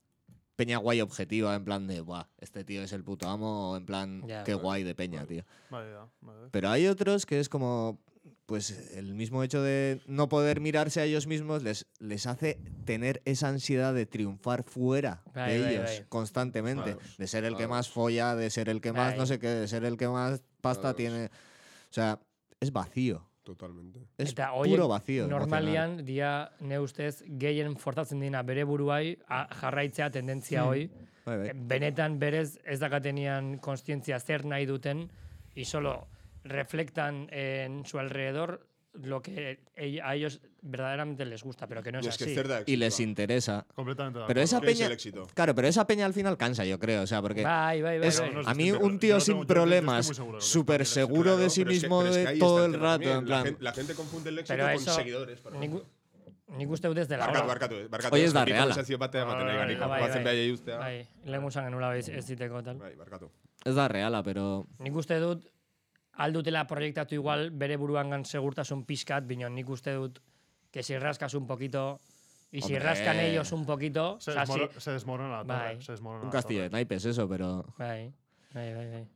Speaker 5: peña guay objetiva, en plan de, buah, este tío es el puto amo, o en plan,
Speaker 3: Ya. pues.
Speaker 5: qué guay de peña, tío.
Speaker 2: Bai, da. Bai.
Speaker 5: Pero hay otros que es como, pues el mismo hecho de no poder mirarse a ellos mismos les, les hace tener esa ansiedad de triunfar fuera
Speaker 3: Bai,
Speaker 5: de
Speaker 3: bai,
Speaker 5: ellos
Speaker 3: bai.
Speaker 5: constantemente,
Speaker 4: Vamos,
Speaker 5: de ser el que
Speaker 4: vamos.
Speaker 5: más folla, de ser el que más
Speaker 3: Bai.
Speaker 5: no sé qué, de ser el que más pasta
Speaker 4: Vamos.
Speaker 5: tiene. O sea, es vacío.
Speaker 4: Totalmente.
Speaker 5: Es
Speaker 3: Eta horiek
Speaker 5: puro vacío. emocional.
Speaker 3: Normalian, dia, ne ustez, gehien forzatzen dina bere buruai a- jarraitzea tendentzia hoi.
Speaker 5: Bai, bai.
Speaker 3: Benetan berez ez dakatenian konstientzia zer nahi duten, y solo reflectan en su alrededor lo que ell- a ellos verdaderamente les gusta, pero que no es,
Speaker 4: Y es que
Speaker 3: así.
Speaker 4: zer da
Speaker 5: Y
Speaker 4: éxitoa.
Speaker 5: les interesa.
Speaker 2: Completamente. de
Speaker 5: Pero
Speaker 2: acuerdo.
Speaker 5: esa
Speaker 4: ¿Qué es
Speaker 5: peña.
Speaker 4: el éxito?
Speaker 5: Claro, pero esa peña al final cansa, yo creo. O sea, porque.
Speaker 3: Bai, bai, bai,
Speaker 5: es-
Speaker 3: bai.
Speaker 2: no, no,
Speaker 5: a
Speaker 2: estoy
Speaker 5: mí,
Speaker 2: seguro,
Speaker 5: un
Speaker 2: yo
Speaker 5: tío
Speaker 2: no
Speaker 5: sin
Speaker 2: tengo- yo- yo
Speaker 5: problemas,
Speaker 2: estoy muy seguro de lo que
Speaker 5: súper seguro
Speaker 4: Claro,
Speaker 5: de sí
Speaker 4: pero es que-
Speaker 5: mismo
Speaker 4: pero es que
Speaker 5: de
Speaker 4: ahí
Speaker 5: todo
Speaker 4: está
Speaker 5: el rato,
Speaker 4: también.
Speaker 5: en
Speaker 4: La
Speaker 5: plan.
Speaker 4: gente, la gente confunde el éxito
Speaker 3: Pero
Speaker 4: con
Speaker 3: eso,
Speaker 4: seguidores. por
Speaker 3: nik,
Speaker 4: ejemplo.
Speaker 3: nik uste dut ez dela.
Speaker 4: Barkatu,
Speaker 3: horrela.
Speaker 4: barkatu, eh, barkatu.
Speaker 5: Hoi ez da
Speaker 4: Nik
Speaker 5: reala.
Speaker 4: konversazio bat ematen ari
Speaker 2: Bai,
Speaker 4: garela,
Speaker 2: bai,
Speaker 4: bazen
Speaker 3: bai.
Speaker 4: beraiei uztea.
Speaker 3: Bai, lehen gusan genula ez, ez diteko tal.
Speaker 4: Bai, barkatu.
Speaker 5: Es la reala, pero.
Speaker 3: Nik uste dut, aldutela proiektatu igual bere buruangan segurtasun pixkat, bino nik uste dut, que si rascas un poquito, y si
Speaker 5: Hombre.
Speaker 3: rascan ellos un poquito,
Speaker 2: Se,
Speaker 3: o sea, si-
Speaker 2: desmoro- se desmorona la torre.
Speaker 3: Bai.
Speaker 2: Se desmorona
Speaker 5: Un
Speaker 2: la
Speaker 5: castillo
Speaker 2: torre.
Speaker 5: de naipes, eso, pero.
Speaker 3: Bai, bai, bai, bai.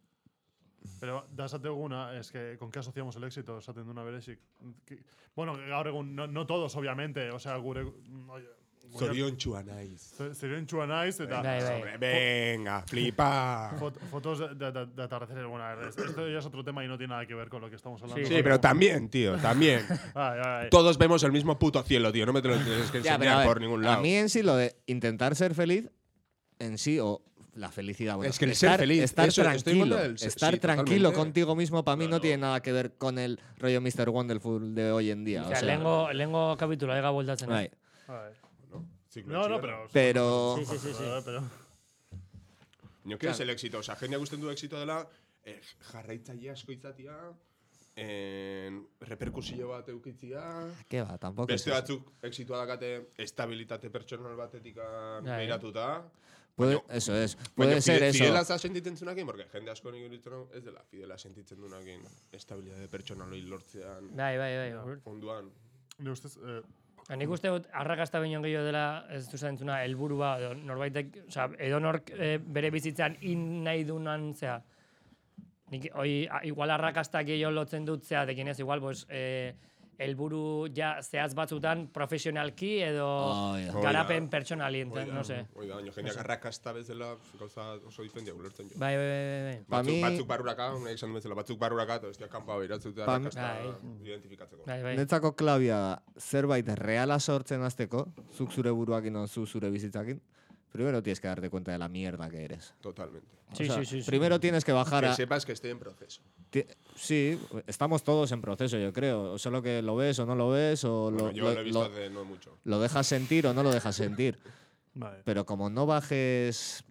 Speaker 2: Pero dasate una, es que ¿con qué asociamos el éxito? Esaten duna berezik. Ki- Bueno, gaur egun, no, no todos, obviamente. O sea, gure... oie, gure-
Speaker 4: Zorion txua
Speaker 3: Eh,
Speaker 4: naiz.
Speaker 2: Ze- Zoriontsua naiz, eta...
Speaker 3: Bai, bai.
Speaker 4: Hombre, venga, flipa.
Speaker 2: Fot- fotos de, de- de- de atardeceres, bueno, a ver, es- esto ya es otro tema y no tiene nada que ver con lo que estamos hablando.
Speaker 4: Sí, pero también,
Speaker 3: <laughs>
Speaker 4: tío, también.
Speaker 2: Ay, ay, ay.
Speaker 4: Todos vemos el mismo puto cielo, tío. No me te lo tienes que
Speaker 5: Ya, pero a
Speaker 4: enseñar
Speaker 5: ver,
Speaker 4: por ningún lado.
Speaker 5: A mí en sí lo de intentar ser feliz, en sí, o la felicidad. bueno,
Speaker 4: Es que el ser
Speaker 5: estar,
Speaker 4: feliz,
Speaker 5: Estar
Speaker 4: eso, estoy en
Speaker 5: tranquilo,
Speaker 4: contra del ser-
Speaker 5: estar
Speaker 4: sí,
Speaker 5: tranquilo
Speaker 4: totalmente.
Speaker 5: contigo mismo para mí no
Speaker 4: Claro.
Speaker 5: tiene nada que ver con el rollo Mr. Wonderful de hoy en día.
Speaker 3: O
Speaker 5: O
Speaker 3: sea,
Speaker 5: sea,
Speaker 3: lengo, lengo kapitula ega bueltatzen.
Speaker 5: bai.
Speaker 3: Bai.
Speaker 2: Ay.
Speaker 4: Ziklo
Speaker 2: No, no,
Speaker 4: txiberra.
Speaker 2: pero.
Speaker 5: Pero.
Speaker 3: Sí, sí, sí, sí.
Speaker 2: Pero, pero-
Speaker 4: Nio, ¿qué es el éxito? O sea, jendeak gusten du éxito dela, eh, jarraitzaile asko izatia, eh, reperkusio bat eukitzia,
Speaker 5: ¿Qué va? Tampoco. es
Speaker 4: beste
Speaker 5: eso.
Speaker 4: batzuk exitoa dakate estabilitate pertsonal batetik
Speaker 3: Bai.
Speaker 4: beiratuta.
Speaker 5: Puede- eso es.
Speaker 4: Baina
Speaker 5: Puede ser
Speaker 4: fide-
Speaker 5: eso.
Speaker 4: Fidela za sentitzen zunakin, porque jende asko nik iruditzen hau, ez dela fidela sentitzen dunakin estabilitate pertsonaloi lortzean,
Speaker 3: Bai, bai, bai.
Speaker 4: onduan.
Speaker 2: nire ustez, eh,
Speaker 3: Ba, Nik uste dut, arrakasta baino gehiago dela, ez du zentzuna, helburua, edo norbaitek, oza, edo nork eh, bere bizitzan in nahi dunan, zera, Nik, hoi, a- igual arrakastak gehiago lotzen dut zeatekin ez, igual, pues, eh, helburu ja zehaz batzutan profesionalki edo
Speaker 5: Hoi da.
Speaker 3: garapen
Speaker 4: Hoi da.
Speaker 3: pertsonalien,
Speaker 4: Hoi da,
Speaker 3: no sé.
Speaker 4: Hoi da, baina jendeak arrakasta bezala gauza oso diferentia ulertzen jo.
Speaker 3: Bai, bai, bai, bai.
Speaker 5: Pa
Speaker 4: Batzuk,
Speaker 5: mi-
Speaker 4: batzuk barruraka, nahi esan duen bezala, batzuk barruraka, eta bestia kanpa behiratzuta
Speaker 5: Pa mi-
Speaker 4: arrakasta
Speaker 3: Bai.
Speaker 4: identifikatzeko.
Speaker 3: Bai, bai.
Speaker 5: Netzako klabia da, zerbait reala sortzen azteko, zuk zure buruakin o zu zure bizitzakin, primero tienes que darte cuenta de la mierda que eres.
Speaker 4: Totalmente.
Speaker 5: O
Speaker 3: Sí,
Speaker 5: sea,
Speaker 3: sí, sí, sí.
Speaker 5: Primero tienes que bajar
Speaker 4: Que
Speaker 5: a...
Speaker 4: sepas que estoy en proceso.
Speaker 5: ti- Sí, estamos todos en proceso, yo creo. O solo que lo ves o no lo ves, o
Speaker 4: Bueno,
Speaker 5: lo,
Speaker 4: yo
Speaker 5: lo-
Speaker 4: lo, he visto
Speaker 5: lo-
Speaker 4: hace no mucho.
Speaker 5: lo dejas sentir o no lo dejas sentir.
Speaker 2: Vale.
Speaker 5: Pero como no bajes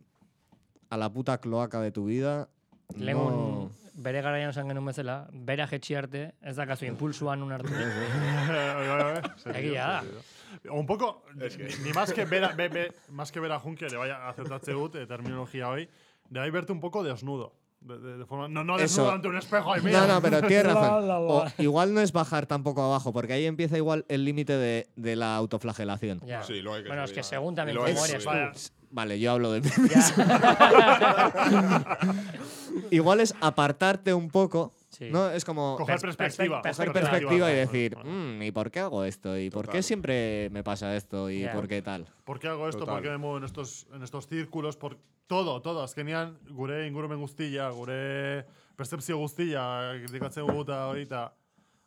Speaker 5: a la puta cloaca de tu vida,
Speaker 3: Lehen
Speaker 5: no...
Speaker 3: bere garaian esan genuen bezala, bera jetxi arte, ez dakazu impulsuan
Speaker 4: <laughs>
Speaker 3: un hartu.
Speaker 2: eh,
Speaker 3: Egia da.
Speaker 2: Un poco, ni, ni más que ver a, ve- ve- más que ver a Juncker, le vaya a aceptarse ut, eh, terminología hoy, debáis verte un poco desnudo. De, de- de forma, no, no
Speaker 5: Eso.
Speaker 2: desnudo ante un espejo, ay, mira.
Speaker 5: No, no, pero tienes
Speaker 3: <laughs> La,
Speaker 5: razón.
Speaker 3: la, la.
Speaker 5: O igual no es bajar tampoco abajo, porque ahí empieza igual el límite de, de la autoflagelación.
Speaker 3: Ja.
Speaker 4: Sí, luego hay que
Speaker 3: bueno, es
Speaker 4: subir,
Speaker 3: que
Speaker 4: va.
Speaker 3: según también
Speaker 4: Y luego hay
Speaker 3: cómo
Speaker 4: que
Speaker 3: eres,
Speaker 4: subir.
Speaker 3: vaya.
Speaker 5: Vale, yo hablo de mí.
Speaker 3: Ja.
Speaker 5: igual es apartarte un poco.
Speaker 3: Sí.
Speaker 5: No, es como
Speaker 2: Coger
Speaker 3: Perspe-
Speaker 2: perspectiva.
Speaker 3: perspe-
Speaker 5: coger
Speaker 3: perspectiva,
Speaker 5: perspectiva y
Speaker 2: vale,
Speaker 5: decir,
Speaker 2: vale.
Speaker 5: "Mm, ¿y por qué hago esto? ¿Y por qué
Speaker 4: Total.
Speaker 5: siempre me pasa esto? ¿Y
Speaker 3: Ya.
Speaker 5: por qué tal?
Speaker 2: ¿Por qué hago esto?
Speaker 4: Total.
Speaker 2: ¿Por qué me muevo en estos, en estos círculos? Por todo, todo. Azkenean, gure ingurumen guztia, gure percepzio guztia, kritikatzen guta ahorita.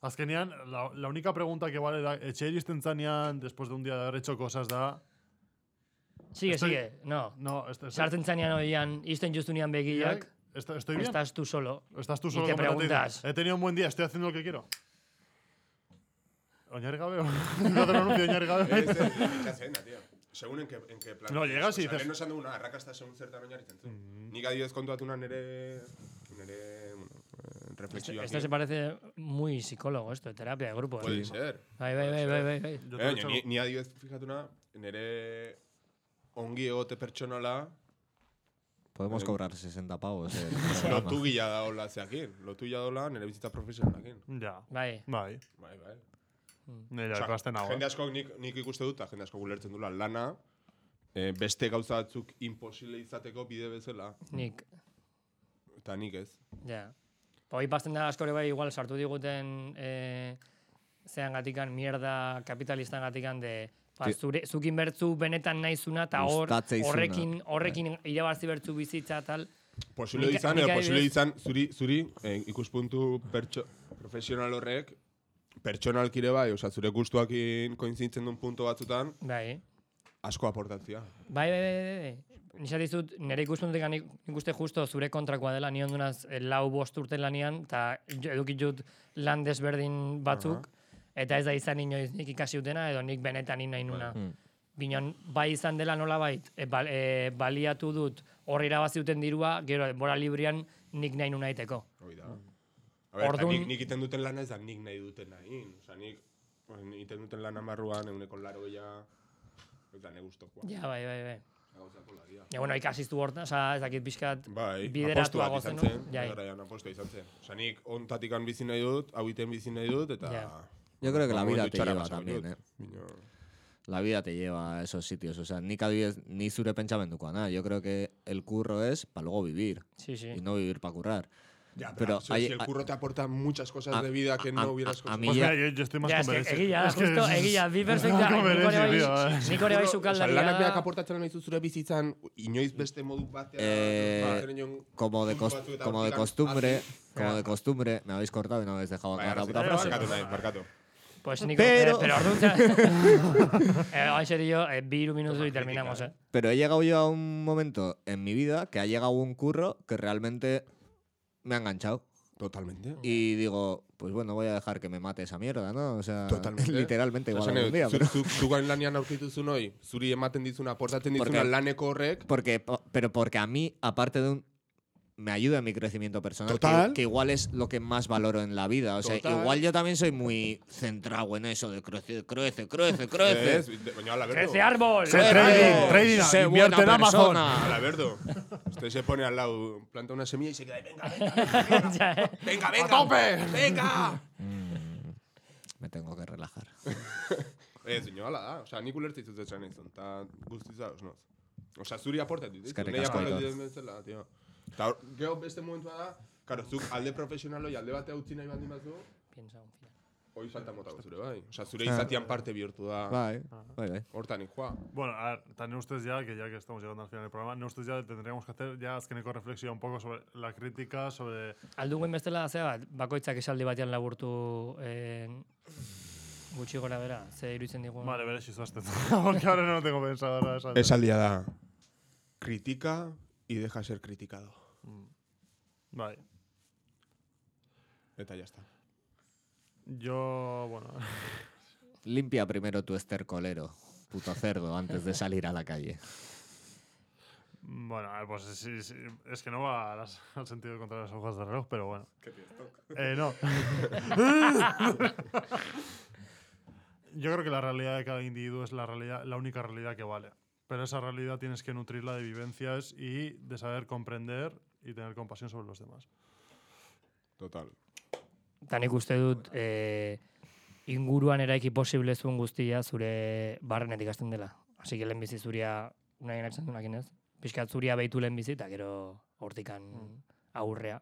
Speaker 2: Azkenean, la, la única pregunta que vale da, etxe iristen zanean, después de un día de haber hecho cosas da...
Speaker 3: Sigue,
Speaker 2: Estoy-
Speaker 3: sigue, no.
Speaker 2: No, este, este-
Speaker 3: Sartzen zanean oian, izten justunean begiak,
Speaker 2: Est- estoy bien.
Speaker 3: estás tú solo.
Speaker 2: Estás tú
Speaker 3: Y
Speaker 2: solo
Speaker 3: te
Speaker 2: como te dicen,
Speaker 3: preguntas.
Speaker 2: He tenido un buen día, estoy haciendo lo que quiero. Oñar Gabeo. <laughs> no te lo anuncio, Oñar Gabeo.
Speaker 3: Eh,
Speaker 4: Ez, ez, itxas egin da, tío. Segun en que, en que plan.
Speaker 2: No, llegas y
Speaker 4: Osea,
Speaker 2: dices- Mm-hmm.
Speaker 4: lehen esan duguna, arrakasta segun zertan oinarritzen zen. Nik adibidez kontuatu nan nere... Nere... Bueno, eh,
Speaker 3: Esto,
Speaker 4: reflexioak.
Speaker 3: esto se parece muy psicólogo, esto, de terapia de grupo.
Speaker 4: Puede
Speaker 3: eh.
Speaker 4: ser.
Speaker 3: Bai, bai, bai, bai, bai, bai.
Speaker 2: Yo te
Speaker 4: Eh,
Speaker 2: lo he
Speaker 4: baina
Speaker 2: hecho-
Speaker 4: ni, ni adibidez fijatuna, nere ongi egote pertsonala
Speaker 5: Podemos
Speaker 4: Eh.
Speaker 5: cobrar 60 pavos. eh,
Speaker 4: lotu gila daola zeakin. Lotu gila daola nere bizitza profesionalakin.
Speaker 2: Ja.
Speaker 3: Bai,
Speaker 2: Bai.
Speaker 4: Bai, bai.
Speaker 2: Nire
Speaker 4: Osea,
Speaker 2: ikasten nago. eh.
Speaker 4: jende askok nik, nik ikuste dut, eta jende askok ulertzen dula lana, eh, beste gauza batzuk imposible izateko bide bezala,
Speaker 3: nik,
Speaker 4: eta nik ez.
Speaker 3: ja. Hoi pasten da askore bai, igual sartu diguten eh, zean gatikan, mierda kapitalistan gatikan, de ba,
Speaker 5: Ti-
Speaker 3: zure, zukin bertzu benetan naizuna, eta hor,
Speaker 5: Gustatzeizuna.
Speaker 3: horrekin, horrekin irabazi bertzu bizitza, tal.
Speaker 4: Posible
Speaker 3: Nik-
Speaker 4: izan,
Speaker 3: nik
Speaker 4: edo
Speaker 3: adibidez-
Speaker 4: posible izan, zuri, zuri eh, ikuspuntu pertso, profesional horrek, pertsonalkire bai, oza, zure gustuakin koinzintzen duen punto batzutan,
Speaker 3: Bai,
Speaker 4: asko aportatzia.
Speaker 3: Bai, bai, bai, bai, bai. Nisa dizut, nire ikuspuntutik nik nik uste justo zure kontrakoa dela, nion dunaz eh, lau bost urte lanian, eta jo- edukit dut lan desberdin batzuk, eta ez da izan inoiz nik ikasi dutena, edo nik benetan nina inuna.
Speaker 4: Bai. Hmm.
Speaker 3: Binon, bai izan dela nola bait, e, bal- e, baliatu dut horri irabazi duten dirua, gero denbora librian nik nahi nuna iteko.
Speaker 4: Hoi da. A ber, eta
Speaker 3: Orduan-
Speaker 4: nik, nik iten duten lana ez da nik nahi duten nahi. Osa, nik, bueno, nik iten duten lana barruan, eguneko laro gehiago, ez da ne gustokoa.
Speaker 3: Ja, bai, bai, bai.
Speaker 4: Gauzako laria.
Speaker 3: Ja, bueno, ikasiztu hortan, oza, ez dakit pixkat
Speaker 4: Bai,
Speaker 3: bideratua
Speaker 4: apostuak
Speaker 3: gozen.
Speaker 4: izan
Speaker 3: no?
Speaker 4: zen.
Speaker 3: Jai.
Speaker 4: Garaian apostua izan zen. Osa, nik ontatik bizi nahi dut, hau iten bizi nahi dut, eta... Ba,
Speaker 3: Ja.
Speaker 5: Yo creo que la
Speaker 4: momentu
Speaker 5: vida te
Speaker 4: txarra
Speaker 5: lleva
Speaker 4: pasatu
Speaker 5: también,
Speaker 4: dut.
Speaker 5: eh.
Speaker 4: Baina,
Speaker 5: la vida te lleva a esos sitios. O sea, ni adibidez, ni zure nada. Yo creo que el curro es para luego vivir
Speaker 3: Sí, sí.
Speaker 5: y no vivir para currar.
Speaker 4: Ya, pero,
Speaker 5: Pero
Speaker 4: si,
Speaker 5: hay-
Speaker 4: si el
Speaker 5: hay-
Speaker 4: curro te aporta muchas cosas
Speaker 5: a-
Speaker 4: de vida que
Speaker 5: a- a-
Speaker 4: no hubieras
Speaker 5: a mí
Speaker 2: Pues
Speaker 5: ya-
Speaker 2: mira, yo, yo estoy más
Speaker 3: Ja,
Speaker 2: con
Speaker 3: es que
Speaker 2: Berezi.
Speaker 3: egia,
Speaker 2: Es que
Speaker 3: justo,
Speaker 2: es-
Speaker 3: egia, bi perfecta.
Speaker 2: Con
Speaker 3: Nik hori
Speaker 2: Berezi,
Speaker 3: bai,
Speaker 2: tío, eh.
Speaker 3: nik hori bai sukaldaria
Speaker 4: lanak berak
Speaker 3: da.
Speaker 4: aportatzen nahi zure bizitzan, inoiz beste modu batean...
Speaker 5: Mm. Eh,
Speaker 4: batean inon-
Speaker 5: Como
Speaker 4: <laughs>
Speaker 5: de,
Speaker 4: puntu
Speaker 5: cos-
Speaker 4: batzuetan
Speaker 5: como de
Speaker 4: aplikan-
Speaker 5: costumbre,
Speaker 4: hasi.
Speaker 5: como de costumbre, me habéis cortado y no habéis dejado
Speaker 4: Bai,
Speaker 5: acabar la
Speaker 4: arrazita,
Speaker 5: puta frase.
Speaker 4: barkatu nahi, barkatu.
Speaker 3: Pues Nico,
Speaker 5: Pero-
Speaker 3: pero, pero orduan, za- eh, hoy serio, eh, vi un minuto y terminamos, eh.
Speaker 5: Pero he llegado yo a un momento en mi vida que ha llegado un curro que realmente me ha enganchado.
Speaker 4: Totalmente.
Speaker 5: Y digo, pues bueno, voy a dejar que me mate esa mierda, ¿no? O sea,
Speaker 4: Totalmente.
Speaker 5: <laughs> literalmente igual
Speaker 4: Esan
Speaker 5: algún día.
Speaker 4: zu,
Speaker 5: pero-
Speaker 4: zu, zu gain lanean aurkitu zuen hori, zuri ematen dizuna, aportatzen
Speaker 5: Porque-
Speaker 4: dizuna laneko horrek,
Speaker 5: Porque, po- pero porque a mí, aparte de un. Me ayuda en mi crecimiento personal. que-
Speaker 4: Total.
Speaker 5: Que, igual es lo que más valoro en la vida. O sea,
Speaker 4: Total.
Speaker 5: igual yo también soy muy centrado en eso de crece, crece, crece,
Speaker 4: ez,
Speaker 5: crece.
Speaker 4: de- baina ala berdo.
Speaker 3: ¡Crece árbol!
Speaker 2: Se trading, trading,
Speaker 5: sé
Speaker 2: invierte en
Speaker 5: buena
Speaker 2: Amazon.
Speaker 5: persona.
Speaker 4: Ala berdo. Usted se pone al lado, planta una semilla y se queda ahí, venga, venga,
Speaker 3: <laughs> Ya, eh.
Speaker 4: venga, venga, tope, venga.
Speaker 5: Me tengo que relajar.
Speaker 4: Ez, baina Eh, ala da, osea, nik ulertze izuz etxan izan, eta guztiz da, osnoz. Osea, zuri aportatu ditu,
Speaker 5: Eskerrik
Speaker 4: nahi
Speaker 5: asko,
Speaker 4: aportatu
Speaker 5: Aitor.
Speaker 4: ditu bezala, tio. Eta hor, gero beste momentua da, Karo, zuk alde profesionalo alde batea utzi nahi baldin bazu,
Speaker 3: Piensa un final.
Speaker 4: hoi falta mota zure, bai. Osa, zure izatian parte bihurtu da.
Speaker 5: Bai, bai, bai.
Speaker 4: Hortan ikua.
Speaker 2: Bueno, a ver, también ustedes ya, que ya que estamos llegando al final del programa, no ustedes ya tendríamos que hacer ya Azkeneko reflexión un poco sobre la crítica, sobre...
Speaker 3: Alduguen bestela, zea bat, bakoitzak esaldi batean laburtu eh, gutxi gora bera, ze iruditzen digun.
Speaker 2: Vale, veré si <laughs> porque ahora no lo tengo pensado. ahora, ¿sabes?
Speaker 4: Esaldia da. Critica y deja ser criticado.
Speaker 2: Vale.
Speaker 4: Eta ya está.
Speaker 2: Yo, bueno...
Speaker 5: Limpia primero tu estercolero, puto cerdo, antes de salir a la calle.
Speaker 2: Bueno, a ver, pues sí, sí, es que no va a las- <laughs> al sentido contra las hojas de reloj, pero bueno. Eh, no. Yo creo que la realidad de cada individuo es la, realidad, la única realidad que vale. Pero esa realidad tienes que nutrirla de vivencias y de saber comprender y tener compasión sobre los demás.
Speaker 4: Total.
Speaker 3: Eta nik uste dut eh, inguruan eraiki posible zuen guztia zure barrenetik hasten dela. Hasi que lehenbizi zuria, nahi eraktzen duenak inez, pixkat zuria behitu lehenbizi eta gero hortikan aurrea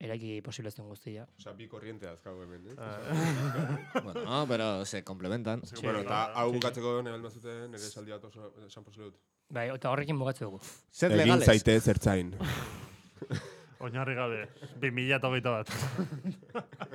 Speaker 3: eraiki posible zuen guztia.
Speaker 4: Osa, bi korriente azkago hemen, eh?
Speaker 2: Ah, <laughs>
Speaker 5: Bueno, no, pero se complementan.
Speaker 2: Sí,
Speaker 4: bueno, eta
Speaker 2: claro.
Speaker 4: hau bukatzeko nire almazuten, nire esaldi bat oso esan posible dut.
Speaker 3: Bai, eta horrekin bukatzen dugu.
Speaker 5: Sed legales.
Speaker 4: zertzain.
Speaker 2: Oñarri gabe, 2000 eta hogeita bat.